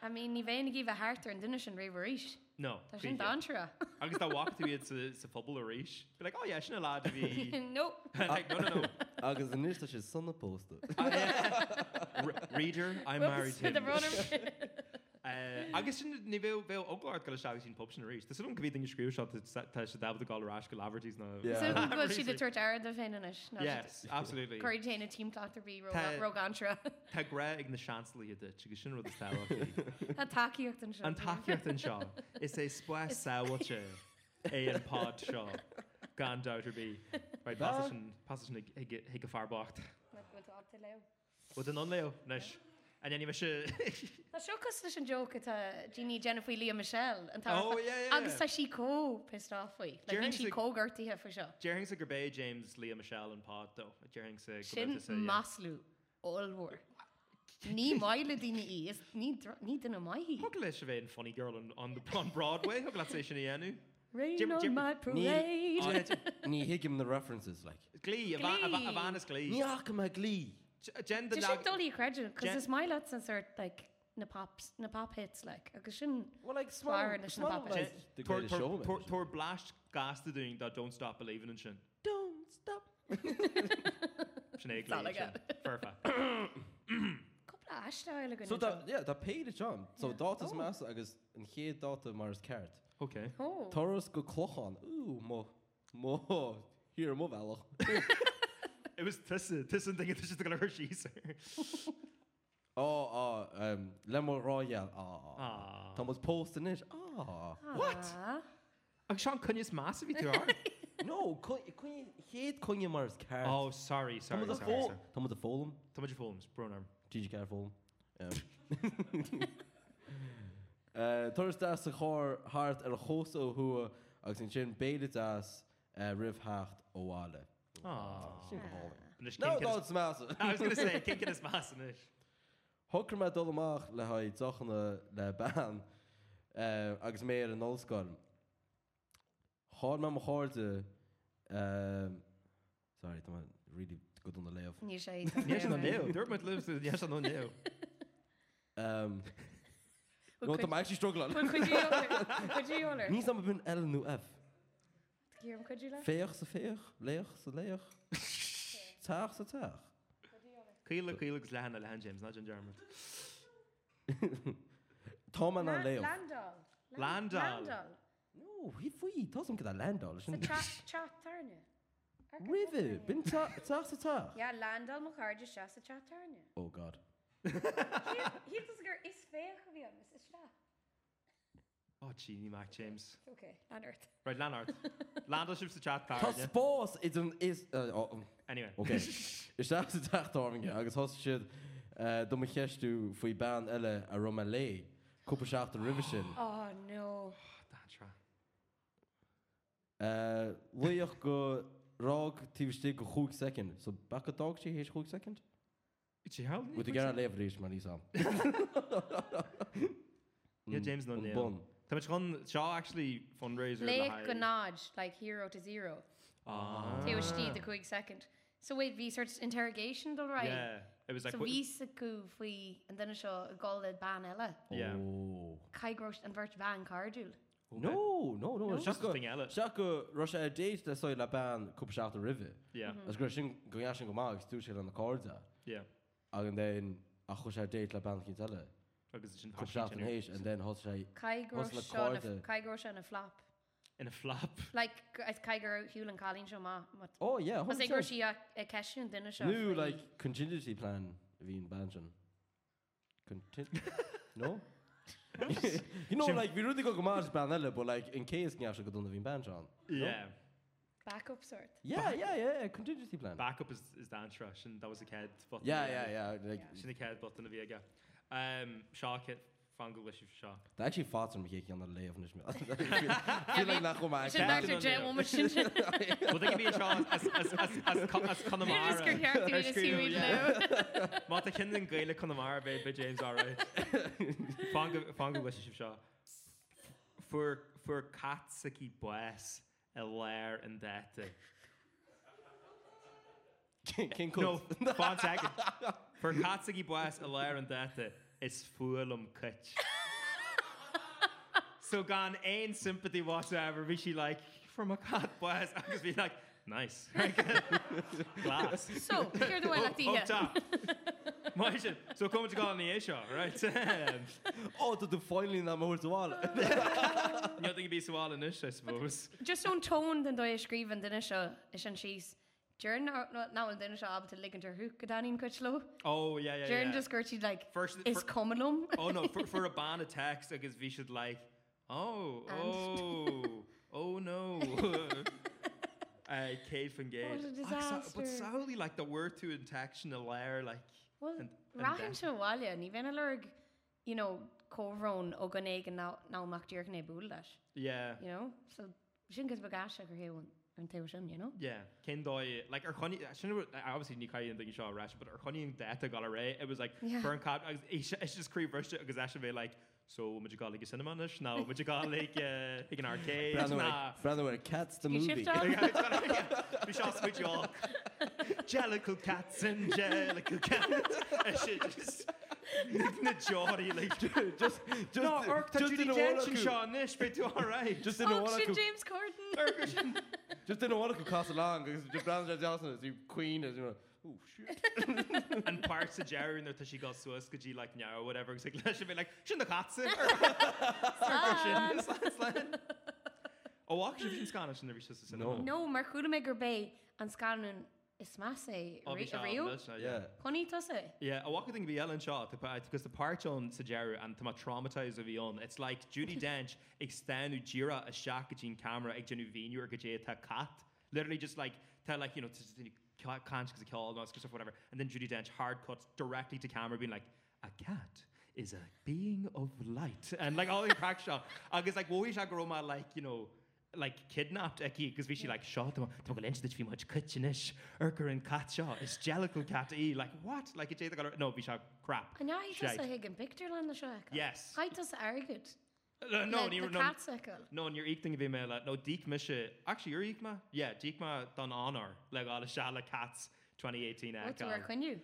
Speaker 4: I mean, ní bhéin gíh hátar an duine sin réhríis.
Speaker 2: No.
Speaker 4: Tá sin dára.
Speaker 2: Agus tá walk to be it's a it's a football race. Be like oh yeah, shouldn't allow to be.
Speaker 4: No.
Speaker 2: Like no no no.
Speaker 3: Agus an is sé sanna posta.
Speaker 2: Uh, yeah. Re- Reader, I married
Speaker 4: the
Speaker 2: him.
Speaker 4: runner.
Speaker 2: Uh, agus sin ní bhéh bhéh ogláir go seagus sin pop sin rééis. Tás an gohí scrúb se se dab goráis go lavertís na.
Speaker 3: Yeah.
Speaker 4: So
Speaker 3: Ah,
Speaker 4: go si de
Speaker 2: really?
Speaker 4: tuair air do féineis
Speaker 2: Yes, absolutely.
Speaker 4: Corí déanana tímtátar bí
Speaker 2: Tá-
Speaker 4: rogantra
Speaker 2: Tá gra ag na seanlí a dit agus sin rud sta.
Speaker 4: a taíocht an
Speaker 2: An taceart an seo is e é spuir saoilte é E an pád seo gan dáidir bí
Speaker 3: Ba?
Speaker 2: passin ag go farbacht.
Speaker 4: le.
Speaker 2: Bú an an leo leis. An anim se
Speaker 4: Tá seochas leis an joke a Jeanní Jennifer Lee Michelle an tá-
Speaker 2: Oh, yeah, yeah,
Speaker 4: agus
Speaker 2: yeah.
Speaker 4: tá sí có pistáfuoi le
Speaker 2: During
Speaker 4: hín sí
Speaker 2: the-
Speaker 4: cógartíthe fa seo
Speaker 2: Jering sa gurbé James Leo Michelle an pád do Jering sa
Speaker 4: sin maslú allhór. Ní maiile duine í is ní dro- ní duna maihí.
Speaker 2: Hog leis bhéh an funny girl on- on the on Broadway hog le sé sin dhéanú. Jim-
Speaker 4: Rain on
Speaker 2: Jim-
Speaker 4: my parade.
Speaker 2: Oh, that's-
Speaker 3: Ní hiig him the references, like.
Speaker 2: Glí a bha- a bha- a bhain is
Speaker 3: Ní
Speaker 2: glí.
Speaker 3: ach ma glí.
Speaker 2: Gen
Speaker 4: Did she dolly credit?
Speaker 2: Jen-
Speaker 4: Because it's my lots and sort like na pops na pop hits like I shouldn't.
Speaker 3: Well, like,
Speaker 4: Flower
Speaker 3: small,
Speaker 4: edition of
Speaker 3: small,
Speaker 4: Papa
Speaker 3: like,
Speaker 4: John's.
Speaker 3: the
Speaker 2: Tor-
Speaker 3: greatest
Speaker 2: tor-
Speaker 3: showman.
Speaker 2: tor- tor blast gas to doing that don't stop believing in sin.
Speaker 3: Don't stop.
Speaker 2: Sinead
Speaker 4: Sound
Speaker 2: Glee,
Speaker 4: like
Speaker 2: sin. Perfect.
Speaker 4: Couple of ashla like
Speaker 3: So that, yeah, that paid a jump. So
Speaker 4: Yeah.
Speaker 3: that is
Speaker 4: Oh.
Speaker 3: mass, agus, an chéad data mars cart.
Speaker 2: Okay.
Speaker 4: Oh.
Speaker 3: Taurus go clochan. Ooh, mo, mo, here mo valach.
Speaker 2: It was Tissin. Tissin thinking this is the color she's
Speaker 3: Oh, oh, um, Lemo Royal. Ah,
Speaker 2: Aww.
Speaker 3: Thomas posting it. Ah,
Speaker 2: What?
Speaker 4: Ah.
Speaker 2: Ag Oh, Sean Cunya's massive you are.
Speaker 3: no, kun kun hate kun you mars cart.
Speaker 2: Oh, sorry, sorry,
Speaker 3: Thomas the
Speaker 2: sorry.
Speaker 3: Fol,
Speaker 2: sorry.
Speaker 3: Thomas the Folum,
Speaker 2: Tá much films, Bronarm.
Speaker 3: Gigi Car Folum. Um. Taurus das a chor hart ar a chós ó hua agus an sin béide as rih hacht óháile.
Speaker 2: Aww.
Speaker 3: Sin go hála. No,
Speaker 2: No,
Speaker 3: that's mass.
Speaker 2: I was gonna say, can't get his mass in it.
Speaker 3: Hokker me dolle maag le ha zachanne le baan uh, agus meer an allskarm. Har me harte um, sorry dat really goed onder leef.
Speaker 4: Ní sé.
Speaker 3: er
Speaker 2: Yes, no, no. Dermot lives with yes, no, no.
Speaker 3: Um, no, dat maakt je struggelen.
Speaker 4: Cuidú
Speaker 3: Niet dat hun L nu F.
Speaker 4: le?
Speaker 3: Veeg ze veeg, leeg ze leeg. Taag ze taag.
Speaker 2: Kila, Kila, Glan, Alan James, not John Dermot.
Speaker 3: Tom en aan leef.
Speaker 4: Landal.
Speaker 2: Landal.
Speaker 3: No, wie foei, dat is een keer dat landal.
Speaker 4: Chatarne.
Speaker 3: River, bin taag ze taag.
Speaker 4: Ja, Landal mo cardja se a chatarne.
Speaker 3: Oh god.
Speaker 4: Hi gur is fé vi is sta.
Speaker 2: Oh, Genie Mac James.
Speaker 4: Okay, anert.
Speaker 2: Right, Lanart. Landal ships the chat card.
Speaker 3: Dat spoor is een is. eh, oh, um,
Speaker 2: Anyway.
Speaker 3: Oké. Is daar de dagtarming? Agus has shit domme gestu foi baan elle a Romalé. Koperschaft de Riversin.
Speaker 4: Oh no.
Speaker 2: Datra.
Speaker 3: Leoch go rog tíste go goed second. So bakke dagje hees goed second?
Speaker 2: It's your help.
Speaker 3: Moet ik gerne leven reis maar niet aan.
Speaker 2: Yeah, James, no, no.
Speaker 3: Bon.
Speaker 2: Tá much gon Shaw actually fundraiser.
Speaker 4: Lé
Speaker 2: le
Speaker 4: go
Speaker 2: haghaidh.
Speaker 4: nád like hero to zero.
Speaker 2: Ah.
Speaker 4: Té tí a chuig second. So wait ví sort interrogation do right.
Speaker 2: Yeah. It was like,
Speaker 4: So
Speaker 2: what-
Speaker 4: ví a go faoi an duna seo a gold ban eile.
Speaker 2: Yeah.
Speaker 3: Oh.
Speaker 4: Caigrocht an virt van cardúil.
Speaker 3: No, no, no.
Speaker 2: Just something else.
Speaker 3: Sjaka Russia a date dat soi la baan Koperschaft de River.
Speaker 2: yeah,
Speaker 3: As greshin go yashin go mag stu shit on the corda.
Speaker 2: yeah.
Speaker 3: Ag an den a chus ar déit le ban cinile.
Speaker 2: Agus is sin
Speaker 3: Cupshaft an
Speaker 2: passionate
Speaker 3: hééis an den hos sé le cardúil.
Speaker 4: Caigro an a flop.
Speaker 2: in a flap.
Speaker 4: Like Caigur Hugh and Colleen seo má.
Speaker 3: ó oh ja
Speaker 4: Was é gur si a ceisiún duine seo.
Speaker 3: Nu
Speaker 4: faoi-
Speaker 3: le contingency plan a hín banjan. No? You know,
Speaker 2: Sin-
Speaker 3: like, vi rudi go go mars ban elle, but like, in case gna go don a hín banjan.
Speaker 2: Yeah.
Speaker 4: Backup sort.
Speaker 3: Yeah, yeah, yeah, yeah, contingency plan.
Speaker 2: Backup is, is Dan Trash, and that was a kid. But
Speaker 3: Yeah, yeah, yeah. Like,
Speaker 4: Yeah.
Speaker 2: She's a kid, but in a Vega. Um, Shaw kid, Fangle Wish of Shaw.
Speaker 3: Tá actually fátar me chéic an le ofnis me. Feel like nach go
Speaker 4: Sin
Speaker 3: mag.
Speaker 2: back-
Speaker 4: Dr.
Speaker 2: Captain
Speaker 4: Jim
Speaker 2: on
Speaker 4: woman sin sin.
Speaker 2: Well, they can be in Shaw as as as as as, as
Speaker 4: Just gur
Speaker 2: Connemara.
Speaker 4: cheart
Speaker 2: Ar
Speaker 4: duine
Speaker 2: scríú,
Speaker 4: siúid
Speaker 2: yeah.
Speaker 4: le.
Speaker 2: Mata kind and Gaelic Connemara by by James all right. Fangle Fangle Wish of Shaw. For for cat sicky boss a lair and that.
Speaker 3: King
Speaker 2: No,
Speaker 3: Cook.
Speaker 2: one second. For Katsiki Boas, Alair, and uh, Data, it's Fulham Kutch. so gone, ain't sympathy whatsoever. Be she like, from a cat Boas, I just be like, Nice. Glass.
Speaker 4: So, here the way like
Speaker 2: Up
Speaker 4: the
Speaker 2: top. Má sin, so cum go ní é seo, right?
Speaker 3: Oh, to the finally na mawr tuwala.
Speaker 2: Ní ag bí sáil inis, I suppose.
Speaker 4: Just on tone than though scríban duine seo is an síos. Jern náfuil duine seo ab ligan ar thuú go daín cuit lo.
Speaker 2: Oh, yeah, yeah, yeah.
Speaker 4: Jern just gurtí like
Speaker 2: First-
Speaker 4: is
Speaker 2: fir-
Speaker 4: comlum.
Speaker 2: Oh no, for, for a ban of text, I guess we should like, oh,
Speaker 4: And-
Speaker 2: oh, oh no. uh, Cade van Gale.
Speaker 4: What a
Speaker 2: but
Speaker 4: disaster.
Speaker 2: sadly, like the word to intention, a lair, like.
Speaker 4: Well,
Speaker 2: and- and
Speaker 4: Rahan
Speaker 2: that.
Speaker 4: se bháile ní bhéna lerg you know córón ó gan éige náachtíorch na bú leis,
Speaker 2: Yeah.
Speaker 4: you know? So sin gus bagáise gur héún an te sin, you know?
Speaker 2: Yeah, Ken Doy, like our honey, I shouldn't have, I obviously Nikai and thinking Shaw Rash, but our honey and Data got array. It was like,
Speaker 4: Yeah.
Speaker 2: Burn Cop, I was- it's it's just Cree versus it, because I should be like, so would you call like a cinema nish? No, would you call like, uh, like an arcade? Nah.
Speaker 3: Branway, Cats the
Speaker 4: You
Speaker 3: movie.
Speaker 4: shift off?
Speaker 2: We shall switch you all. Jellicle cats and jellicle cats. I should just. Na Jordy, like.
Speaker 3: Just, just,
Speaker 2: No, Urk, touch
Speaker 3: just
Speaker 2: the
Speaker 3: in a
Speaker 2: attention,
Speaker 3: wallach.
Speaker 2: Sean. Nish, but do alright. Just.
Speaker 3: Just in a
Speaker 4: Oh, sin
Speaker 3: wallach.
Speaker 4: James Corden.
Speaker 2: Urk,
Speaker 3: Just in a wallach cost along because just Branway Johnson is your queen is you know. Oh shit.
Speaker 2: and parts of Jerry in there till she got so could you like now or whatever it's like she'd be like shouldn't the cats in oh actually she's Scottish and never just a cinema
Speaker 3: No.
Speaker 4: No, mar chuúla mé gur bé an scanún is más eh, é
Speaker 2: Oh, bhí Sean
Speaker 4: riú.
Speaker 2: Lush, no,
Speaker 3: Yeah.
Speaker 4: Honní to sé?
Speaker 2: Yeah, I walk thing be Ellen Shaw because the part on Sajaru and to traumatize of Ion. It's like Judy Dench extend Ujira a shock gene camera a genu venu or gaje ta cat. Literally just like tell like you know to conscious because kill all that stuff whatever. And then Judy Dench hard cuts directly to camera being like a cat is a being of light and like all the crack shot. I guess like Wohi Shagroma like you know like kidnapped Eki because we she like shot them talk lynch that we much kitchenish Urker and Katshaw is jellical cat e like what like it's either got no we shot crap
Speaker 4: An ná
Speaker 2: Shite.
Speaker 4: a hiig an picú le na seach.
Speaker 2: yes
Speaker 4: Haitas agad.
Speaker 2: Uh, no no
Speaker 4: ní
Speaker 2: no
Speaker 4: cat seil.
Speaker 2: no and you're eating of email uh, no deek misha actually you're eekma yeah deekma done honor like all the shala cats 2018
Speaker 4: Wat
Speaker 2: Akal.
Speaker 4: ar chuinniu?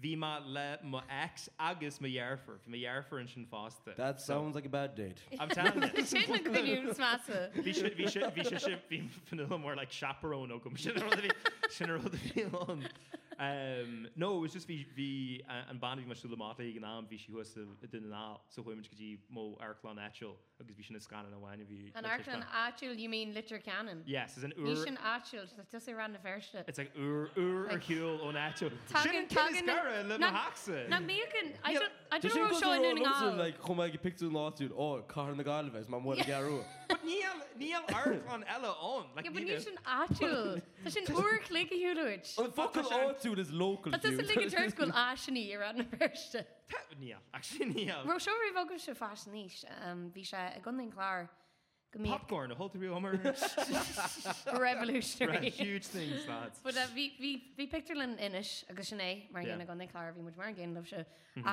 Speaker 2: Vima le ma ex agus ma yerfer ma yerfer and shin fosta
Speaker 3: That sounds like a bad date.
Speaker 2: I'm telling you
Speaker 4: Sin na goú smása.
Speaker 2: Bhí sé- bhí sé- bhí sé sin- bhí fanile mór le chaperón ó gom sin ar rud a bhí- sin ar rud a bhí an. Um, No, it was just uh, bhí bhí a- an ban bhí mar súlamáta ag ná bhí si huasa den ná so chuimiid gotí mó airláán etil agus bhí sin na scanan amhhaine bhí.
Speaker 4: An
Speaker 2: le tuiscin.
Speaker 4: airlan áúil you mean litter cannon.
Speaker 2: Yes, is an
Speaker 4: Ní
Speaker 2: ur.
Speaker 4: sin áúil le tu sé ran na verste.
Speaker 2: It's like ur ur or
Speaker 4: Like-
Speaker 2: hiúil ó etil. Sin an
Speaker 4: Tagan-
Speaker 2: cinn
Speaker 4: tagan-
Speaker 2: scara le
Speaker 4: na-
Speaker 2: na haxa.
Speaker 4: Na mé
Speaker 3: Yeah,
Speaker 4: don't know
Speaker 3: goes
Speaker 4: seo
Speaker 3: around
Speaker 4: inúning
Speaker 3: London,
Speaker 4: á.
Speaker 3: Like, come I get picked in lawsuit. Oh, Car in the Galvez, my mother Garu.
Speaker 2: But níl níl airláán eile ón. Like,
Speaker 4: Ja, but
Speaker 2: níl-
Speaker 4: ní sin áúil. Tá sin uair léige hiúid.
Speaker 3: Oh, the fucking
Speaker 2: Fuck, I shan't-
Speaker 3: lawsuit is local.
Speaker 4: Tá
Speaker 3: dude.
Speaker 4: is a Ah, lig turncoil áisinaí ar ran na verste.
Speaker 2: Tá- Níl, actually níl.
Speaker 4: Ro seo i bhgam se fás níos um, bhí se a gunning chláir go mí
Speaker 2: Popcorn, a whole three homer.
Speaker 4: revolutionary.
Speaker 2: Huge things, lads.
Speaker 4: But uh, bhí- bhí bhí pictarlan inis agus sinné mar
Speaker 2: Yeah.
Speaker 4: ghéanana gan chláir bhí mu mar ggéan leh se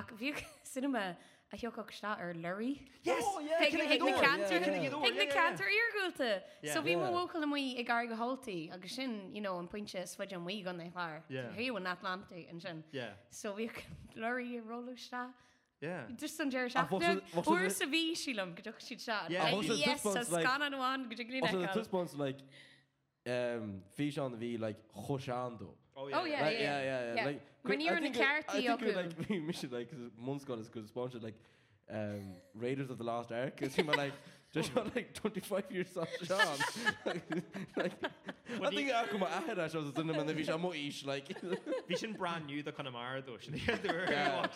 Speaker 4: ach bhí Ah, cinema a heocochtá ar lurí.
Speaker 2: Yes.
Speaker 3: Oh, yeah,
Speaker 4: Hic-
Speaker 3: can I get
Speaker 4: hic na
Speaker 3: door?
Speaker 4: cantar-
Speaker 3: Yeah, yeah.
Speaker 4: hic na cantar iargúilta.
Speaker 2: Yeah.
Speaker 4: So bhí
Speaker 3: Yeah.
Speaker 4: mhócail mu i gar go hátaí agus sin you know, an pointse sfuid an mí gan na chláir.
Speaker 2: Yeah.
Speaker 4: Hiú an Atlantic an sin.
Speaker 2: Yeah,
Speaker 4: So bhí lurí rólaistá.
Speaker 2: yeah.
Speaker 4: Just an Jerry
Speaker 3: Ah, what's
Speaker 4: Shafton.
Speaker 3: with- what's with
Speaker 4: Or
Speaker 3: the-
Speaker 4: sa bhí sílam go dúch siad seán.
Speaker 2: Yeah. Ah,
Speaker 3: what's with
Speaker 4: Yes,
Speaker 3: this
Speaker 4: a
Speaker 3: one's like-
Speaker 4: scan an bhain go dúch ní
Speaker 3: Also, the
Speaker 4: nechail.
Speaker 3: twist one's like, um, fish on the V, like, Hoshando.
Speaker 4: Oh, yeah.
Speaker 3: Like, yeah, yeah, yeah.
Speaker 4: yeah.
Speaker 3: Like,
Speaker 4: When
Speaker 3: I
Speaker 4: you're in a
Speaker 3: think it-
Speaker 4: car,
Speaker 3: I think
Speaker 4: Tioku.
Speaker 3: it, like, we should, like, Mun's got his good sponsor, like, um, Raiders of the Lost Ark. Because he might, like, just shot, like, 25 years off Sean. like, like, I
Speaker 2: do
Speaker 3: think
Speaker 2: you-
Speaker 3: I come out of that shot, it's in him, and the fish, I'm ish, like,
Speaker 2: Bhí sin brand new do Connemara dó sin
Speaker 3: Yeah.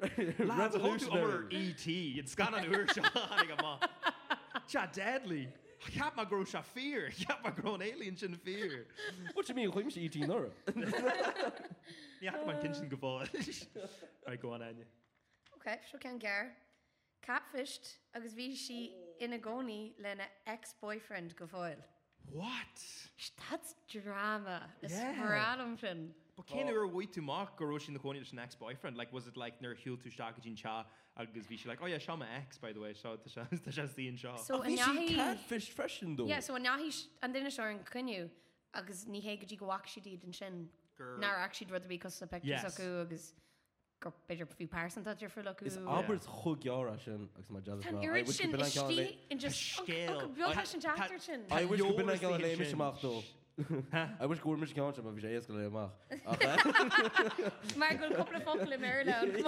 Speaker 2: Revolutionary
Speaker 3: revolutionary.
Speaker 2: ET in scan an uair seo ag má. Cha deadly. Cap má gro se fear. Cap má gro an alien sin fear.
Speaker 3: What do you mean, why must you eat in Europe?
Speaker 2: Ní hat man cin sin go bháil. Right, go on, Anya.
Speaker 4: Ok, seo cean gir. Capfist agus bhí si ina gcónaí lena ex-boyfriend go bháil.
Speaker 2: What?
Speaker 4: That's drama. Is
Speaker 2: Yeah.
Speaker 4: rádom sin.
Speaker 2: But
Speaker 4: Oh.
Speaker 2: cén uair bhui tú má go roisi na cóí sin ex-boyfriend? Like, was it like nar hiúil tú seacha dín cha agus bhí si like, oh yeah, seo má ex, by the way, seo tá se- tá se tíon seo.
Speaker 4: So
Speaker 3: Fish, he
Speaker 4: anahí...
Speaker 3: catfish freshen, though.
Speaker 4: Oh, Yeah, so anahí an duine seo an cuniu agus ní hé go dtí go bhhaach si díad an sin.
Speaker 2: Girl.
Speaker 4: Nar ac siad rud a bhí cos a pectus
Speaker 2: Er. Yes.
Speaker 4: acu agus gur beidir bhí pársan tá tíar frilach
Speaker 3: Is
Speaker 4: acu.
Speaker 3: Albert's hug yara sin agus má jazz
Speaker 4: Tan
Speaker 3: má.
Speaker 4: irid sin
Speaker 3: I
Speaker 4: istí in
Speaker 2: A
Speaker 4: just...
Speaker 2: scéal.
Speaker 4: Bhil
Speaker 2: I-
Speaker 4: sin
Speaker 2: ta-
Speaker 4: teachtar sin.
Speaker 3: I wish
Speaker 2: Yo
Speaker 3: go bin
Speaker 2: was
Speaker 3: an
Speaker 2: thinking
Speaker 3: leimi
Speaker 2: sin.
Speaker 3: sem ach dó. I wish Gormish County, but Vijay is going to mach.
Speaker 4: Mar go coppla focail i Maryland.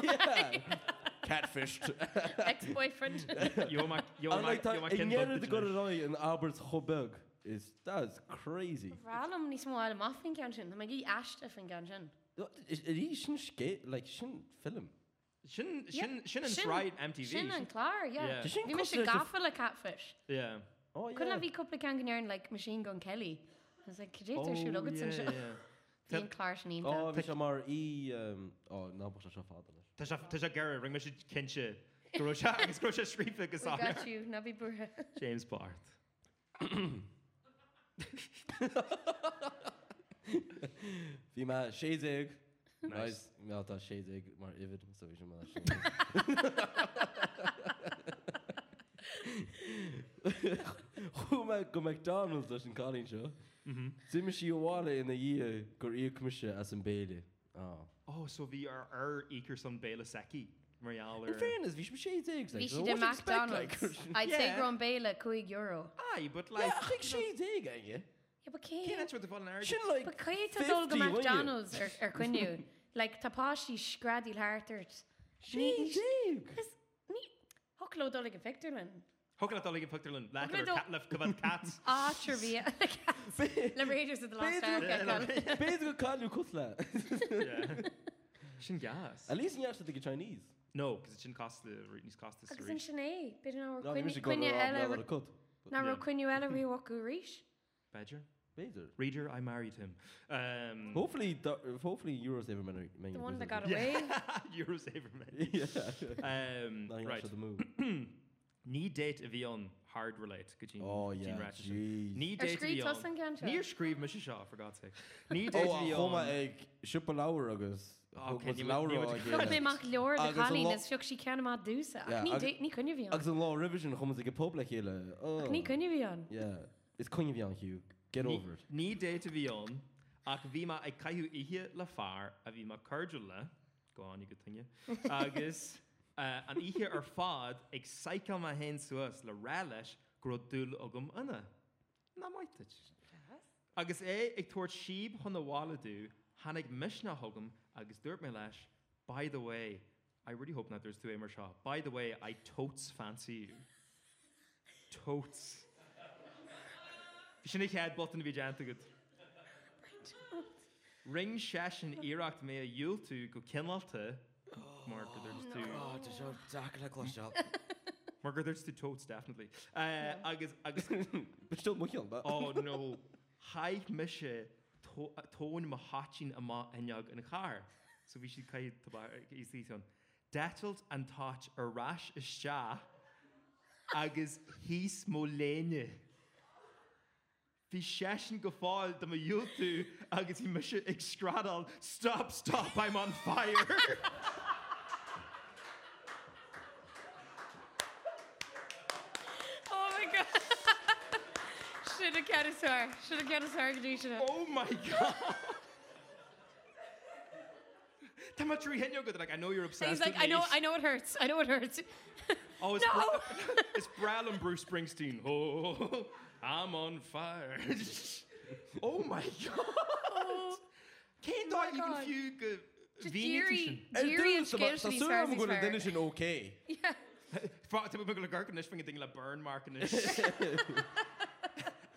Speaker 3: Catfished.
Speaker 4: Ex-boyfriend.
Speaker 2: Yo, my, yo,
Speaker 3: And
Speaker 2: my,
Speaker 3: like
Speaker 2: yo, my
Speaker 3: that, in
Speaker 2: kin
Speaker 3: Yerida
Speaker 2: bug.
Speaker 3: got it right in Albert's Hobug. Is that is crazy.
Speaker 4: Rálam níos mó am off an gan sin, me í eiste an gan sin.
Speaker 3: Is he shouldn't skate like shouldn't film.
Speaker 2: Shin,
Speaker 4: Yeah.
Speaker 2: shin, shin and
Speaker 4: Sin-
Speaker 2: Stride MTV.
Speaker 4: Sin an chlár,
Speaker 2: Yeah. Does
Speaker 3: she
Speaker 4: Bhí me
Speaker 3: consider
Speaker 4: sé
Speaker 3: it a-
Speaker 4: gafa le catfish.
Speaker 2: Yeah.
Speaker 3: Oh
Speaker 4: Couldn't
Speaker 3: yeah.
Speaker 4: have been couple can gnearn like machine gun Kelly. I was like, could
Speaker 2: Oh,
Speaker 4: you shoot Ogus and shit?
Speaker 2: Tá-
Speaker 4: Being Clark and
Speaker 3: Oh,
Speaker 4: Ian.
Speaker 3: Vijay Mar E. um, Oh, no, but I should father.
Speaker 2: Tá sé- tá sé gar ring me sé cinse agus gro sé scrífa go
Speaker 4: We got you, Nubby Burra.
Speaker 2: James Bart.
Speaker 3: Vima Shazig.
Speaker 2: Nice.
Speaker 3: Nice. Mel tá Shazig mar Ivid, so vi sem mar. Chuma go McDonald's leis an cálín seo.
Speaker 2: Mm-hmm.
Speaker 3: Tuimi si bháile ina dí gur íomcmise as an béile.
Speaker 2: Oh, so bhí ar ar ígur san béle seci marall
Speaker 3: In fairness, bhí sem Shazig.
Speaker 4: We should do McDonald's. I'd say
Speaker 2: Yeah.
Speaker 4: Grom Bale at Kuig Euro.
Speaker 2: Ai, but like
Speaker 3: Like Shazig, aige?
Speaker 4: Yeah, but
Speaker 2: Cé
Speaker 4: Kate.
Speaker 2: net de bhil
Speaker 3: Sin like
Speaker 4: But Kate has
Speaker 3: 50,
Speaker 4: all the
Speaker 3: won't you?
Speaker 4: McDonald's or- or Quinu. Like Tapashi Scraddy Hartert.
Speaker 3: Shazig.
Speaker 4: Hucklow Dolly and Victorlin.
Speaker 2: Thgad atála an futarlan le
Speaker 4: Thug le dul-
Speaker 2: leh cobh cats.
Speaker 4: Ah, Trivia. The Raiders of the Lost
Speaker 3: Pedro-
Speaker 4: Ark. I call it.
Speaker 3: Béad go cáú cos le.
Speaker 2: Sin gas.
Speaker 3: A lís ní eiste go Chinese.
Speaker 2: No, because it sin cost the root needs cost the
Speaker 4: Agus an sinné, bid an áwer
Speaker 3: No, bhí sé go
Speaker 4: cuine eile
Speaker 3: le cut.
Speaker 4: na ro
Speaker 2: Yeah.
Speaker 4: cuine eile ri wacu ríis.
Speaker 2: Badger.
Speaker 3: Béidir.
Speaker 2: Reader, I married him. Um,
Speaker 3: Hopefully, do- hopefully Euro's ever many.
Speaker 4: The one that got
Speaker 2: Yeah.
Speaker 4: away.
Speaker 2: Eurosaver man.
Speaker 3: Yeah.
Speaker 2: Um,
Speaker 3: Nothing
Speaker 2: right.
Speaker 3: right. the move.
Speaker 2: Ní date a bhí an hard relate go Gene-
Speaker 3: Oh
Speaker 2: Gene
Speaker 3: yeah.
Speaker 2: Ratchison.
Speaker 3: Jeez.
Speaker 2: Ní
Speaker 4: Ar
Speaker 2: date a
Speaker 4: scríb
Speaker 2: bhí
Speaker 4: tosaigh an
Speaker 2: an.
Speaker 4: gan seo?
Speaker 2: Níor scríb me seo for God's sake. Ní date a
Speaker 3: Oh,
Speaker 2: bhí
Speaker 3: homa
Speaker 2: an.
Speaker 3: ag sipa lawer agus.
Speaker 2: Oh,
Speaker 3: Thug
Speaker 2: Ken,
Speaker 3: was
Speaker 2: you would-
Speaker 3: Laura
Speaker 2: you would-
Speaker 3: ag
Speaker 4: Rud
Speaker 3: éile.
Speaker 4: mé mac leor de
Speaker 3: Agus a
Speaker 4: chalín
Speaker 3: lo-
Speaker 4: is fiúch sí cean má dúsa.
Speaker 3: Yeah,
Speaker 4: Ní
Speaker 3: agus-
Speaker 4: dé- ní cuine bhí an.
Speaker 3: Agus an law revision chumas ag pob le chéile. Oh.
Speaker 4: Ní cuine bhí an.
Speaker 3: Yeah. It's cuine bhí an Hugh. Get
Speaker 2: Ní-
Speaker 3: over it.
Speaker 2: Ní date a bhí an ach bhí ma e ag caiú ihe le fear a bhí ma cardú le gáinnig go tunne agus uh, an ihe ar fád ag saica a hen suas le rá leis gro dúil agam ina. Na maiiteid. Agus é ag tuair sib chun na bhálaú hanig misna thugam agus dúirt me leis by the way. I really hope not there's two Amer Shaw. By the way, I totes fancy you. Totes. Sin ik had bot in vi janta gut. Ring sesh an Iraq mé a dúil tú go cinálta Margus
Speaker 3: Oh, just exactly like last shot.
Speaker 2: tú totes definitely. Uh, agus agus
Speaker 3: But still muchyal, but.
Speaker 2: ó nó haid me se tóin má hatín a má aneag in a char, so bhí si caiad ísíon. Detalt an táit arráis iste agus híos mó léine. Bhí sesin go fáil do dúú agus hí me se ag stradal, stop, stop, I'm on fire.
Speaker 4: Oh my god. Should have got us her. Should have got us her condition.
Speaker 2: Oh my god. Tá má trí henne go like I know you're obsessed.
Speaker 4: He's like,
Speaker 2: with
Speaker 4: I know,
Speaker 2: me."
Speaker 4: I know it hurts. I know it hurts.
Speaker 2: Oh, it's,
Speaker 4: No!
Speaker 2: Bra- it's Brad and Bruce Springsteen. Oh, I'm on fire. oh my god.
Speaker 4: Oh,
Speaker 2: Can't I even
Speaker 4: God.
Speaker 2: few good
Speaker 4: just
Speaker 2: vegan
Speaker 4: Deary, Deary and Scales to these
Speaker 3: Sure, I'm going to
Speaker 4: fire.
Speaker 3: finish it okay.
Speaker 4: Yeah.
Speaker 2: Fá te go le garcanis fing ding le burn marcanis.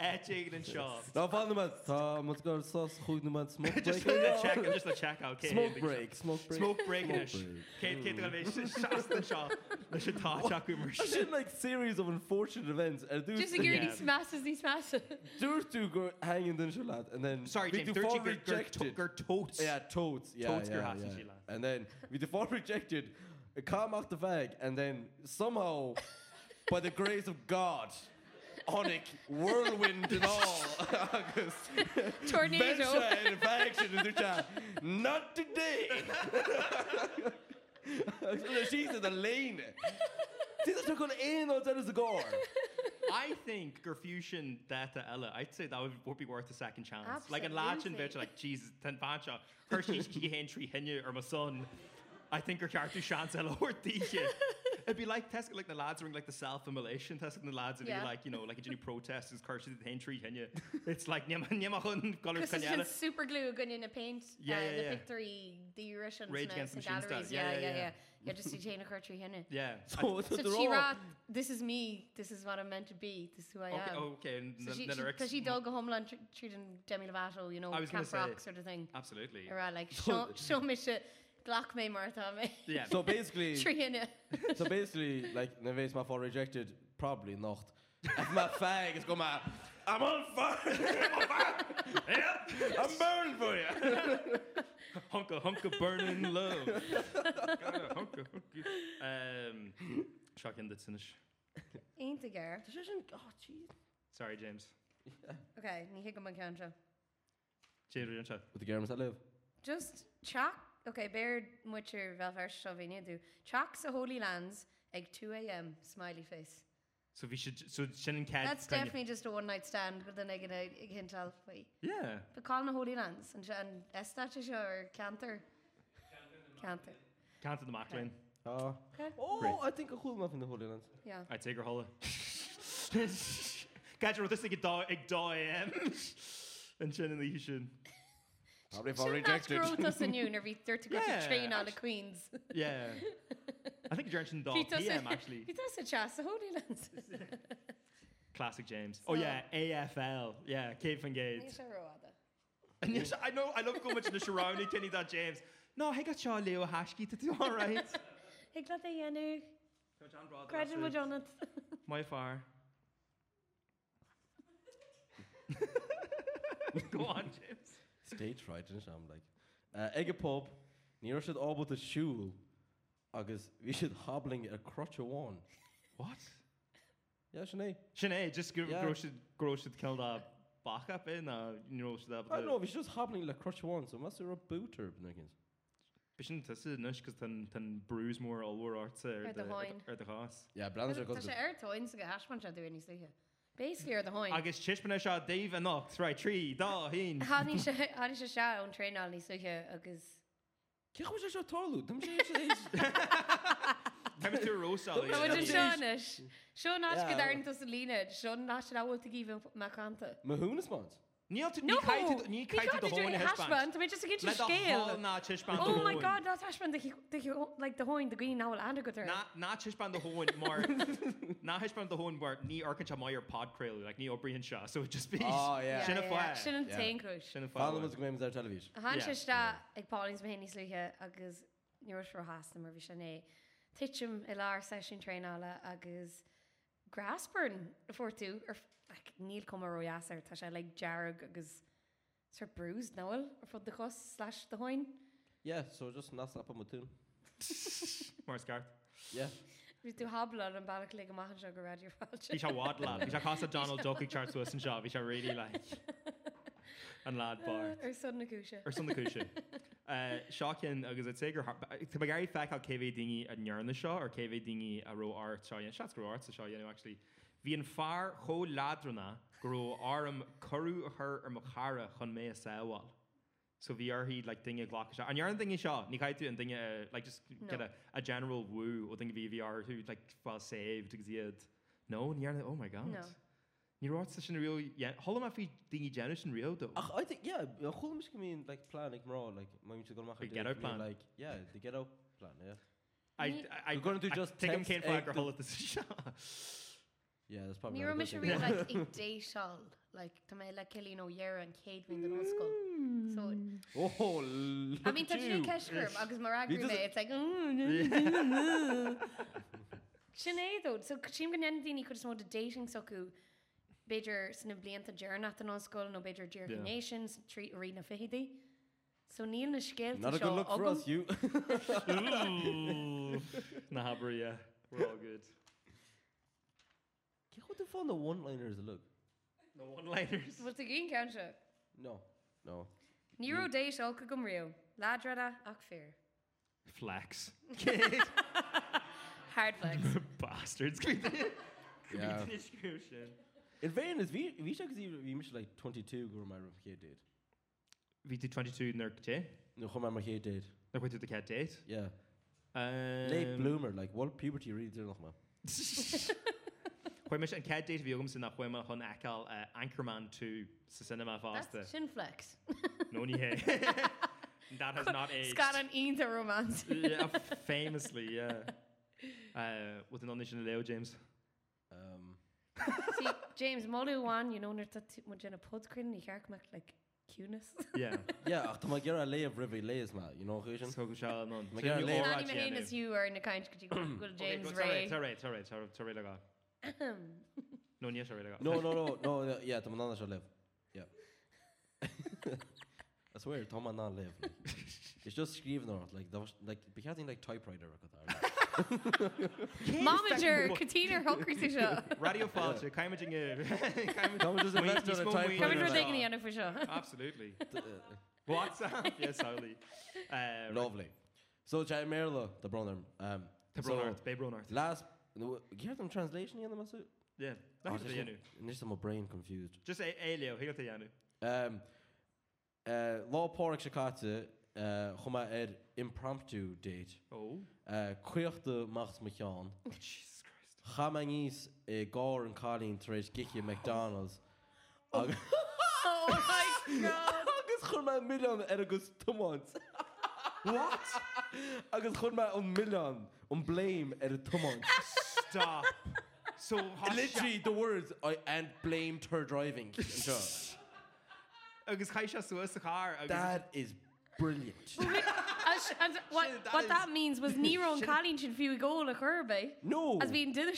Speaker 2: Etching and shot.
Speaker 3: Now, fan yma, ta, mae'n gael sos chwyd nhw'n smoke break.
Speaker 2: Just the check, just the check out.
Speaker 3: Smoke break, smoke break.
Speaker 2: Smoke break.
Speaker 3: break.
Speaker 2: Can't get the shots and shot. I should talk talk with
Speaker 3: I should like series of unfortunate events. And do
Speaker 4: Just security
Speaker 2: Yeah.
Speaker 4: smashes, he smashes.
Speaker 3: do to go hang in the lad, and then
Speaker 2: Sorry,
Speaker 3: we
Speaker 2: James.
Speaker 3: do fall
Speaker 2: Dirty
Speaker 3: rejected.
Speaker 2: gur totes.
Speaker 3: Yeah, totes. Yeah,
Speaker 2: Totes
Speaker 3: yeah,
Speaker 2: gur hassle
Speaker 3: yeah.
Speaker 2: she lad.
Speaker 3: And then we do fall rejected. It come off the bag, and then somehow, by the grace of God, Onik whirlwind and all. August.
Speaker 4: Tornado.
Speaker 3: Venture and faction in their time. Not today. She's in the lane. She's not going in or tell us the gore.
Speaker 2: I think Gerfusion Data Ella, I'd say that would, would be worth a second chance. Like in Lachin
Speaker 4: Absolutely.
Speaker 2: Bitch, like Jesus, Ten Pancha, Hershey's Key Hen Tree Henya or my son. I think her character chance Ella or Tisha. It'd be like Tesco, like the lads are in like the self-immolation test, and the lads are
Speaker 4: Yeah.
Speaker 2: like, you know, like a Jenny protest is cursed to the entry, and you, it's like, Nyama Color
Speaker 4: Chris is just
Speaker 2: Canyana.
Speaker 4: super glue going in a paint.
Speaker 2: Yeah,
Speaker 4: uh,
Speaker 2: yeah,
Speaker 4: the
Speaker 2: yeah.
Speaker 4: victory, the Russian
Speaker 2: Rage Against the Machine style.
Speaker 4: galleries.
Speaker 2: Yeah,
Speaker 4: Yeah, yeah,
Speaker 2: yeah,
Speaker 4: yeah.
Speaker 2: yeah.
Speaker 4: yeah. yeah just to Jane Curtry in it.
Speaker 2: Yeah.
Speaker 3: So,
Speaker 4: So
Speaker 3: they're all-
Speaker 4: she wrote, "This is me. This is what I'm meant to be. This is who I
Speaker 2: Okay,
Speaker 4: am."
Speaker 2: oh, okay, and
Speaker 4: So
Speaker 2: then,
Speaker 4: she,
Speaker 2: then
Speaker 4: she,
Speaker 2: her ex-
Speaker 4: cause she dug a homeland tr- treating Demi Lovato, you know,
Speaker 2: I was gonna
Speaker 4: Camp Rock
Speaker 2: say-
Speaker 4: sort of thing.
Speaker 2: Absolutely.
Speaker 4: Or uh, like show, show me shit, Glock me Martha me.
Speaker 2: Yeah.
Speaker 3: So basically,
Speaker 4: Tree in it.
Speaker 3: so basically, like, Neves my for rejected, probably not. If my fag is going, my, I'm on fire,
Speaker 2: yeah.
Speaker 3: I'm burning for you.
Speaker 2: Hunka hunka burning love. Gotta hunka hunka. Um, shocking that's finish.
Speaker 4: Ain't the girl.
Speaker 3: Oh, jeez.
Speaker 2: Sorry, James.
Speaker 4: Okay, ni hick man counter.
Speaker 2: James, we're gonna
Speaker 3: With the germs that live.
Speaker 4: Just chalk. Okay, bear mucher velfare shovini do. Chalk the Holy Lands, egg 2 a.m. smiley face.
Speaker 2: So we should. So Shannon Cat.
Speaker 4: That's definitely just a one night stand, but then I get a hint of wait.
Speaker 2: Yeah.
Speaker 4: But calling the Holy Lands and and Estatus or Canter. Canter.
Speaker 2: Count to the Macklin.
Speaker 3: Uh,
Speaker 4: Okay.
Speaker 3: oh,
Speaker 2: Great.
Speaker 3: I think a cool muffin in the Holy Lands.
Speaker 4: Yeah.
Speaker 2: I take her holla. Catcher with this thing at daw at daw am. And Shannon Lee should.
Speaker 3: Probably for
Speaker 4: Shouldn't that
Speaker 3: rejected.
Speaker 4: grow us in you, nervy? They're to go
Speaker 2: Yeah,
Speaker 4: to train all the
Speaker 2: actually-
Speaker 4: queens.
Speaker 2: Yeah. I think James and daw
Speaker 4: He does
Speaker 2: PM
Speaker 4: it.
Speaker 2: actually.
Speaker 4: He does a chas the Holy Lands.
Speaker 2: Classic James. Oh
Speaker 4: So-
Speaker 2: yeah, AFL. Yeah, Kate Van
Speaker 4: Ní
Speaker 2: Gates.
Speaker 4: sé rá ada.
Speaker 2: And yes, I know, I love how much in the surrounding Kenny that James. No, I got Shaw Leo Hashki to do all right.
Speaker 4: Ig le é dhéanú Creidir mu Jonat
Speaker 2: My far. Go on, James.
Speaker 3: Stage fright, isn't it? I'm like. Uh, Egg a pub, near should all but the shoe. Agus, we should hobbling a crotch of one.
Speaker 2: What?
Speaker 3: Yeah, Sinead.
Speaker 2: Sinead, just gr-
Speaker 3: Yeah.
Speaker 2: yeah. should grow should kill the back up in, uh, you know, should have
Speaker 3: I don't know,
Speaker 2: the.
Speaker 3: we should just hobbling a crotch of one, so must be a booter, Nuggins.
Speaker 2: Bishin tested nush because then then bruise more all war arts or
Speaker 4: Ar
Speaker 2: the
Speaker 4: do háin.
Speaker 2: or the house.
Speaker 3: Yeah, Blanche are
Speaker 4: sé airtáin sa go hasman se dúní sluthe. Béisí ar
Speaker 2: I
Speaker 4: hain.
Speaker 2: guess Chishman shot Dave and Ox right tree da hin.
Speaker 4: Thní se há se se an tréál ní suthe agus
Speaker 3: Kich was just a tolu. Them shit is.
Speaker 2: Time to roast all
Speaker 3: Tá muid
Speaker 4: Roin
Speaker 3: an
Speaker 2: these.
Speaker 3: sin-
Speaker 4: seis. Seo ná
Speaker 3: Yeah, well-
Speaker 4: go darnta sa líine, seo ná se ráhfuil a gíh me canta.
Speaker 3: Mahoon is mons.
Speaker 2: Neil to
Speaker 4: No,
Speaker 2: Neil to Neil to the horn hashband.
Speaker 4: hasban, tá just gin
Speaker 2: Let the whole
Speaker 4: scéal.
Speaker 2: na Chishman the
Speaker 4: Oh my
Speaker 2: horn.
Speaker 4: god, dá hasban le do háin de gí náhfuil an go
Speaker 2: Na na hispan the horn more. Na hispan the horn more. Ni Arkansas Meyer pod trail like ni O'Brien Shaw. So it just be.
Speaker 3: Oh, yeah.
Speaker 2: Sinna fire.
Speaker 4: sin an
Speaker 3: Yeah.
Speaker 4: teanrúis.
Speaker 2: Shannon
Speaker 3: Follow us
Speaker 2: Fowler.
Speaker 3: going to television.
Speaker 4: Han
Speaker 2: Yeah.
Speaker 4: sé sta ag Paulins mehéní sluthe agus nuirú hasasta mar bhí sinné. Tiitim i lár sé sin tréála agus Grasburn a fortú ar er f- like, níl com roiasar tá sé le dearg agus sir er brús nóil ar fud de chus slash do hain.
Speaker 3: Yeah, so just not slap on my tune.
Speaker 2: Mars Garth.
Speaker 3: Yeah.
Speaker 4: Bhí tú habla an bailach le go maihan se go radio
Speaker 2: Vi
Speaker 4: fáilte.
Speaker 2: ska wadla. Vi ska kasta Donald Duck i charts och sen ska vi ska really like. And lad bar.
Speaker 4: Ar sun na cúise.
Speaker 2: Or something cushy. Uh, Shocking, because it's Sager. To my Gary Fack, how KV Dingy at Nurna Shaw, or KV Dingy a uh, row art Shaw, and Shots grow arts Shaw, you know, actually. Vian far ho ladrana grow aram kuru her or machara chon mea sawal. So we are he like dingy glock shot. And you're thingy shot, Nikaitu and dingy, uh, like just no. get
Speaker 4: No.
Speaker 2: a, a general woo or dingy VVR who like well saved because he had. No, and you're oh my god.
Speaker 4: No.
Speaker 2: You're watching such a real, yeah. Hold on, if you dingy generation real though.
Speaker 3: Ach, I think, yeah, a whole music mean like plan, like more, like, my music going to
Speaker 2: The ghetto plan.
Speaker 3: Like, yeah, the ghetto plan, yeah.
Speaker 2: I,
Speaker 4: Ni-
Speaker 2: I,
Speaker 3: You're gonna do
Speaker 2: I
Speaker 3: just
Speaker 2: take him
Speaker 3: text
Speaker 2: Kane Flagger
Speaker 3: egg
Speaker 2: hole at the shot.
Speaker 3: Yeah, that's probably
Speaker 4: Ní
Speaker 3: not a
Speaker 4: mu
Speaker 3: good
Speaker 4: se
Speaker 3: thing.
Speaker 4: ri le i déisiáil le tá mé le celín ó dhéar an céad hín den ócóil. So
Speaker 3: Oh,
Speaker 4: I mean,
Speaker 3: look
Speaker 4: tá sin
Speaker 3: you.
Speaker 4: ceisgurm agus mar
Speaker 3: He
Speaker 4: agrú
Speaker 3: doesn't-
Speaker 4: mé, it's like, mm, Sinnéadú, so sin gan daoine chu mód a dating socu Beiidir sna blianta dearna an osscoil nó Beiidir
Speaker 2: Yeah.
Speaker 4: Dear Nations trí ri na fihidaí. So níl na scéil
Speaker 3: Not a good look for us, you.
Speaker 2: nah, bro, yeah, we're all good.
Speaker 3: What the fun the one-liners look?
Speaker 2: No one-liners.
Speaker 4: Bhil a gín cean se.
Speaker 3: No, no.
Speaker 4: Níró
Speaker 3: Mm.
Speaker 4: dééis áca gom riú, ládrada ach fear.
Speaker 2: Flex,
Speaker 4: Hardflex.
Speaker 2: bastards. Give me the- give me
Speaker 3: Yeah.
Speaker 2: the description.
Speaker 3: In fairness, we we should see we missed like 22 go my kid did.
Speaker 2: We did 22 nerd day.
Speaker 3: No, go my kid did.
Speaker 2: Like we did the cat date. Um,
Speaker 3: Yeah. Late
Speaker 2: Ehm.
Speaker 3: bloomer, like what puberty really did nochmal.
Speaker 2: Chuir me an cad déit bhígamm sin nach chuime chun eáil uh, Anchorman tú sa cinema fásta.
Speaker 4: That's shin flex.
Speaker 2: No ní hé. That has not aged.
Speaker 4: Scott an Ainta romance.
Speaker 2: yeah, famously, yeah. Uh, with an unnamed Leo James.
Speaker 3: Um,
Speaker 4: See, James Mullu won, you know, near that in a pod screen, he hark mac like cuteness.
Speaker 2: Yeah.
Speaker 3: yeah, ach, ma gera lay of river lays ma, you know, Christian.
Speaker 2: so go shall non.
Speaker 3: Mae gen i Leo
Speaker 4: Not even in as you are in the kind could you go to James Ray.
Speaker 2: All right, all right, all right, all right. No, yes, all right.
Speaker 3: No, no, no, no, no, yeah, Tom Nana shall live. Yeah. I swear, Tom Nana live. Like, it's just skriven or like, that was, like, becoming like typewriter record.
Speaker 4: Momager, Katina Hooker to show.
Speaker 2: Radio Falcha, Kaimajing.
Speaker 3: Tom just
Speaker 2: Wait,
Speaker 3: invested
Speaker 2: he's
Speaker 3: in a
Speaker 2: going way-
Speaker 4: Come
Speaker 2: Coming
Speaker 4: and
Speaker 2: for
Speaker 3: typewriter.
Speaker 2: the-
Speaker 4: dig me on for sure.
Speaker 2: Absolutely.
Speaker 3: like, uh,
Speaker 2: WhatsApp. Yes, Harley. Uh,
Speaker 3: Lovely. So, Jai Merlo, the brother. Um,
Speaker 2: The
Speaker 3: so,
Speaker 2: Bronart, Babe Bronart.
Speaker 3: Last, do you have them translation in the message?
Speaker 2: Yeah. Not the Yanu.
Speaker 3: Just my brain confused.
Speaker 2: Just a a Leo, he got the Yanu.
Speaker 3: Um, uh, Law Porrick Shakata, uh, Homa Ed impromptu date.
Speaker 2: Oh.
Speaker 3: Uh, Quirte Macht Mechan.
Speaker 2: Jesus Christ.
Speaker 3: Hamangis, a uh, Gore and Colleen Trace Giki McDonald's. Agus
Speaker 4: Oh my god.
Speaker 3: churma million ar agus tumont. What? Agus churma an million an blame ar a tumont.
Speaker 2: Stop. So hot.
Speaker 3: Literally the words I and blamed her driving. Sure.
Speaker 2: agus caiise suas a car agus
Speaker 3: That is brilliant.
Speaker 4: As- and What
Speaker 2: Shit, that
Speaker 4: what
Speaker 2: is-
Speaker 4: that means was Nero and Colleen should view a goal at Kirby.
Speaker 3: No.
Speaker 4: As being did a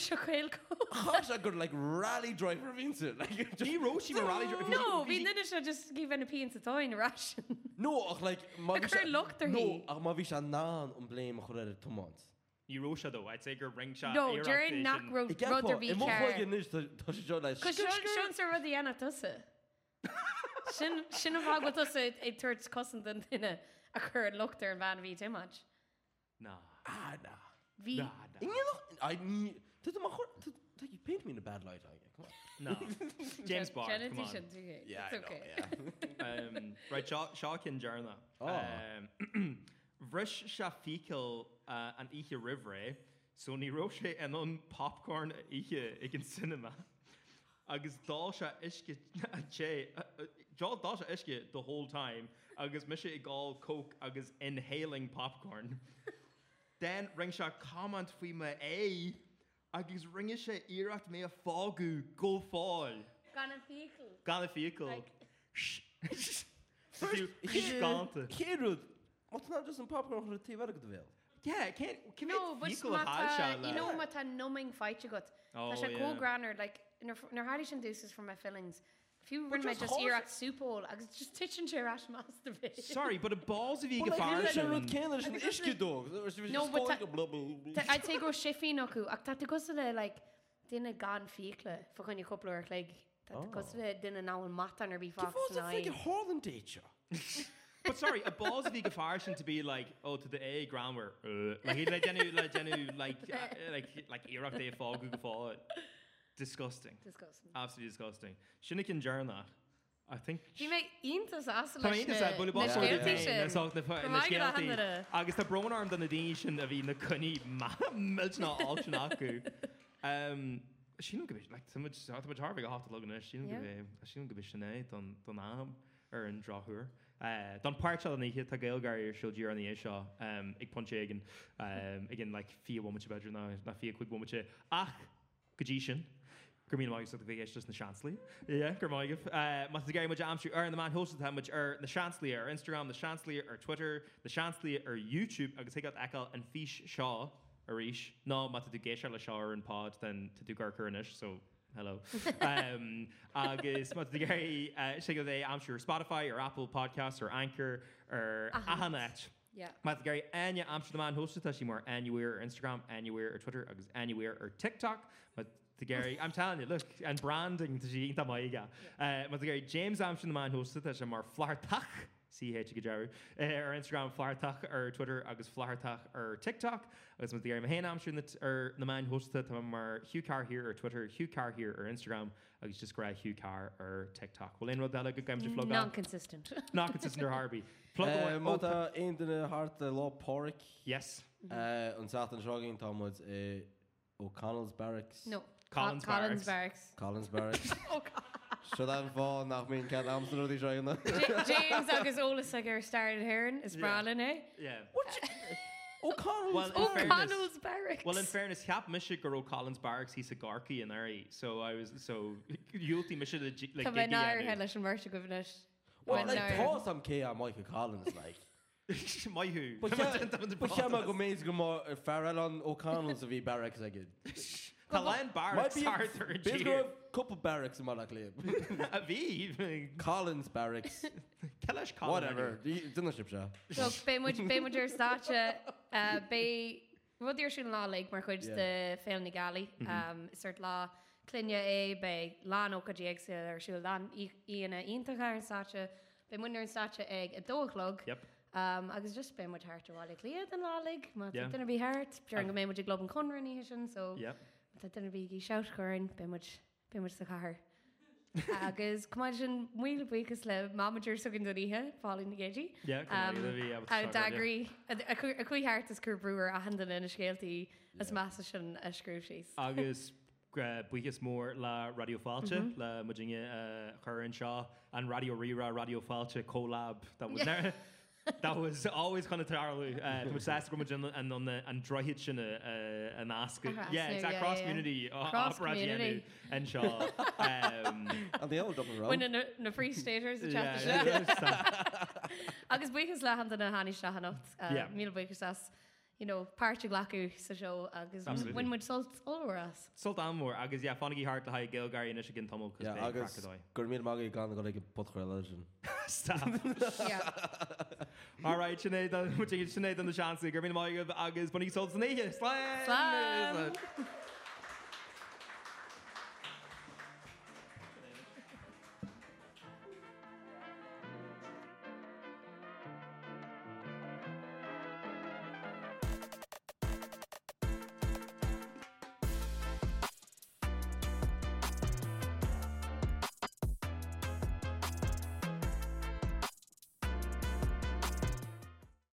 Speaker 4: shokail go.
Speaker 2: Oh,
Speaker 3: Gosh, I could like rally driver Vincent. Like, just,
Speaker 2: Ní roisi mar rally dri- if you-
Speaker 4: No,
Speaker 2: if
Speaker 4: we
Speaker 2: you-
Speaker 4: didn't should just give an opinion to toy in a ration.
Speaker 3: no, ach, like ma
Speaker 4: Like
Speaker 3: bhí sé-
Speaker 4: her luck there,
Speaker 3: No,
Speaker 4: he.
Speaker 3: ach ma bhí sé ná an blame a chur ar a tumont.
Speaker 2: Ní roisi though I'd say gur ring shot
Speaker 4: No, during knock road rudder be care.
Speaker 3: nis tá sé seo leis.
Speaker 4: Cos Sean Sir Ruddy Anna tusa. Sin sin bhag go tusa é tuairt cosan den duine a chur lochtar an bhana bhí much.
Speaker 2: Nah.
Speaker 3: Ah,
Speaker 4: Bhí
Speaker 2: Nah, nah,
Speaker 3: I need. Did ma chur? Did you paint me in a bad light? I come on.
Speaker 2: nah. James Bond, come on.
Speaker 3: Yeah, I know.
Speaker 4: okay.
Speaker 3: Yeah.
Speaker 2: Um, right, Shaw, Shaw can jarna.
Speaker 3: Oh.
Speaker 2: Um, Vrish Shafikil uh, an Ihe Rivre, so ní roisi an on popcorn a Ihe ag an cinema. Agus dá se isce ché, Joel dá se isce the whole time, agus mis i gáil coke agus inhaling popcorn. Den ring se comment fao me é, agus ringe se iirecht mé a fágu go fáil.
Speaker 4: Gan an fiú.
Speaker 2: Gan a fiíil.
Speaker 4: Like-
Speaker 2: Gante.
Speaker 3: Kérud. What's not just in popcorn for the TV good veil?
Speaker 2: Yeah, can can
Speaker 4: No, but
Speaker 2: we
Speaker 4: it's
Speaker 2: equal a high
Speaker 4: not
Speaker 2: shot?
Speaker 4: a, you know what a numbing fight you got.
Speaker 2: Oh,
Speaker 4: That's a
Speaker 2: yeah.
Speaker 4: cool graner like nor Harry Shanduces for my fillings. If you were my
Speaker 3: just
Speaker 4: just ear
Speaker 3: horse-
Speaker 4: at soup all, I was just teaching to rash master bit.
Speaker 2: Sorry, but a balls of
Speaker 3: Oh,
Speaker 2: you
Speaker 3: Rud
Speaker 2: far.
Speaker 3: Kenner an isci dog.
Speaker 4: No, but ta-
Speaker 3: but
Speaker 4: I'd say go shifty naku. Ak that goes to the like dinner gan fiekle for when you couple or like that goes to
Speaker 2: Oh.
Speaker 4: the dinner now and matan or be fox
Speaker 3: What's the
Speaker 4: nine.
Speaker 3: freaking Harlan teacher?
Speaker 2: But sorry, a balls of you farsion to be like, oh, to the A grammar, uh, like he like genu like genu like uh, like like Iraq day fall Google fall. Disgusting,
Speaker 4: Disgusting.
Speaker 2: absolutely disgusting. Shinnikin Jarna, I think.
Speaker 4: Fi mé intas as
Speaker 2: Tá inta sa bula bá
Speaker 3: na
Speaker 2: sin na soach na fa-
Speaker 4: Go
Speaker 2: na
Speaker 4: maiid le
Speaker 2: scialtaí.
Speaker 4: hanara.
Speaker 2: agus tá brnarm don na daine sin a bhí na coní milna áin acu. Um, Sin go le tar go háta legan sin
Speaker 4: Yeah.
Speaker 2: sin go sinné don don am ar an drothúr. Don páirte an ihe tá gailgarir siúdíar an é seo um, ag pontégan ag gin le fiomte beidir ná na fi chuig bmte ach godí sin. Gurmín agus a bhíh just na seanslí. gur maigah Mas gaiir muid amsú ar na man hosatá muid ar na seanslí ar Instagram na seanslí ar Twitter, na seanslí ar YouTube agus tugat eáil an fís seo a ríis. ná má tú géisiar le seáir an pod den tú gar chunis so hello. um, agus uh, má gaiir si go é amsú Spotify ar Apple Podcast ar Anchor ar
Speaker 4: Ahanet.
Speaker 2: ahanet.
Speaker 4: Yeah.
Speaker 2: Math Gary and your Amsterdam man hosted us more anywhere or Instagram, anywhere or Twitter, agus anywhere or TikTok. But the Gary, I'm telling you, look, and branding to see that my Uh, But the Gary James Amsterdam man hosted us more flartach. C H Gajaru Uh, or Instagram flartach or Twitter agus flartach or TikTok agus with the Gary Mahan Amsterdam that or the man hosted them more Hugh Carr here or Twitter Hugh Carr here or Instagram agus just grab Hugh Carr or TikTok. Well, in Rodella good game to flog
Speaker 4: Non consistent.
Speaker 2: Knock it's Sister Harvey. Plug
Speaker 3: Eh,
Speaker 2: away. Oh, pl-
Speaker 3: Uh, Mata ein dunne hart
Speaker 2: eh,
Speaker 3: lá Park
Speaker 2: Yes.
Speaker 3: an Satan Shrogging Thomas uh, O'Connell's Barracks.
Speaker 4: No.
Speaker 2: Collins
Speaker 4: Col- Collins
Speaker 2: Barracks.
Speaker 4: Barracks.
Speaker 3: Collins Barracks. Sure that fall nach min cat Amstel or the Shrogging.
Speaker 4: Ja- James agus Olas a gur starred herin is eh?
Speaker 2: Yeah.
Speaker 4: bralin é.
Speaker 2: Yeah.
Speaker 3: O'Connell's.
Speaker 2: Well,
Speaker 4: Oh,
Speaker 2: in fairness,
Speaker 4: O'Connell's Barracks.
Speaker 2: well, in fairness, Cap Michigan or Collins Barracks, he's a Garky and Ari. So I was so Yulti Michigan like
Speaker 4: Tá ná
Speaker 2: Giggy
Speaker 4: he
Speaker 2: Anu.
Speaker 4: leis an mar go bhne.
Speaker 3: Well, like toss some K on Michael Collins like.
Speaker 2: My who?
Speaker 3: But yeah, but yeah, go
Speaker 2: Talon
Speaker 3: maze go more Farrell on O'Connell's of Barracks again.
Speaker 2: Barracks are
Speaker 3: Biz go
Speaker 2: third.
Speaker 3: a couple barracks in Malakleib.
Speaker 2: Aviv.
Speaker 3: Collins Barracks.
Speaker 2: Kelesh Collins.
Speaker 3: Whatever. Dinner ship show.
Speaker 4: bé muidir státe uh, bé rudíir sin lá le mar chuid
Speaker 3: Yeah.
Speaker 4: de féna galí
Speaker 2: Mhm.
Speaker 4: suirt lá clunne é bei lán ó godéagsa ar siú lán í- íana ionintcha ar an sáte, Bei muidir an sáte ag a dólog
Speaker 2: Yep.
Speaker 4: Um, agus just be mu thart bhála liad an lálig, má
Speaker 2: Yeah. Ah.
Speaker 4: duna bhí heart, Pear an go mé mu glob an conraní sin so
Speaker 2: Yep.
Speaker 4: Tá duna bhí í seáin be be mu sa chaair. agus cumáid sin muoile buchas le mamidir sugan doíthe fáin na géidir.
Speaker 2: Yeah.
Speaker 4: Um, A
Speaker 2: Dagri.
Speaker 4: dagri a chuheart is gur breúr a handan in scéaltaí as más sin a scrú sééis.
Speaker 2: agus uh, buchas mór le Radio Falcha
Speaker 4: Mm-hmm.
Speaker 2: mm -hmm. le mudinge uh, chur an seo an Radio Rira Radio Falcha collab that was yeah. That was always kind of terrible. Uh, was asked from an and on the and drohid sin uh, an ask.
Speaker 4: Across
Speaker 2: Yeah,
Speaker 4: here,
Speaker 2: exactly.
Speaker 4: yeah,
Speaker 2: Cross
Speaker 4: yeah.
Speaker 2: community. uh,
Speaker 4: Cross
Speaker 2: community.
Speaker 4: community.
Speaker 2: And Shaw. Um,
Speaker 3: And the old double round.
Speaker 4: Win na free staters a
Speaker 2: yeah,
Speaker 4: chat.
Speaker 2: yeah,
Speaker 4: sin.
Speaker 2: yeah.
Speaker 4: Agus buchas le handan na haní se
Speaker 2: Yeah.
Speaker 4: hanacht mí uh, buchas as páirte glacu sa seo agus
Speaker 2: Absolutely.
Speaker 4: win mu solt óras.
Speaker 2: Sultan Moore. Agus yeah, Fonaggy Hart to high Gilgar and Ishigan Tomo.
Speaker 3: Yeah, agus gur mí mag gan go le potchre legend.
Speaker 2: Stop.
Speaker 4: Tá
Speaker 2: All right, Sinead, uh, which is Sinead and the Shanty. Give me the mic of Agus, but he sold Sinead. Slam!
Speaker 4: Slam!
Speaker 2: Slam!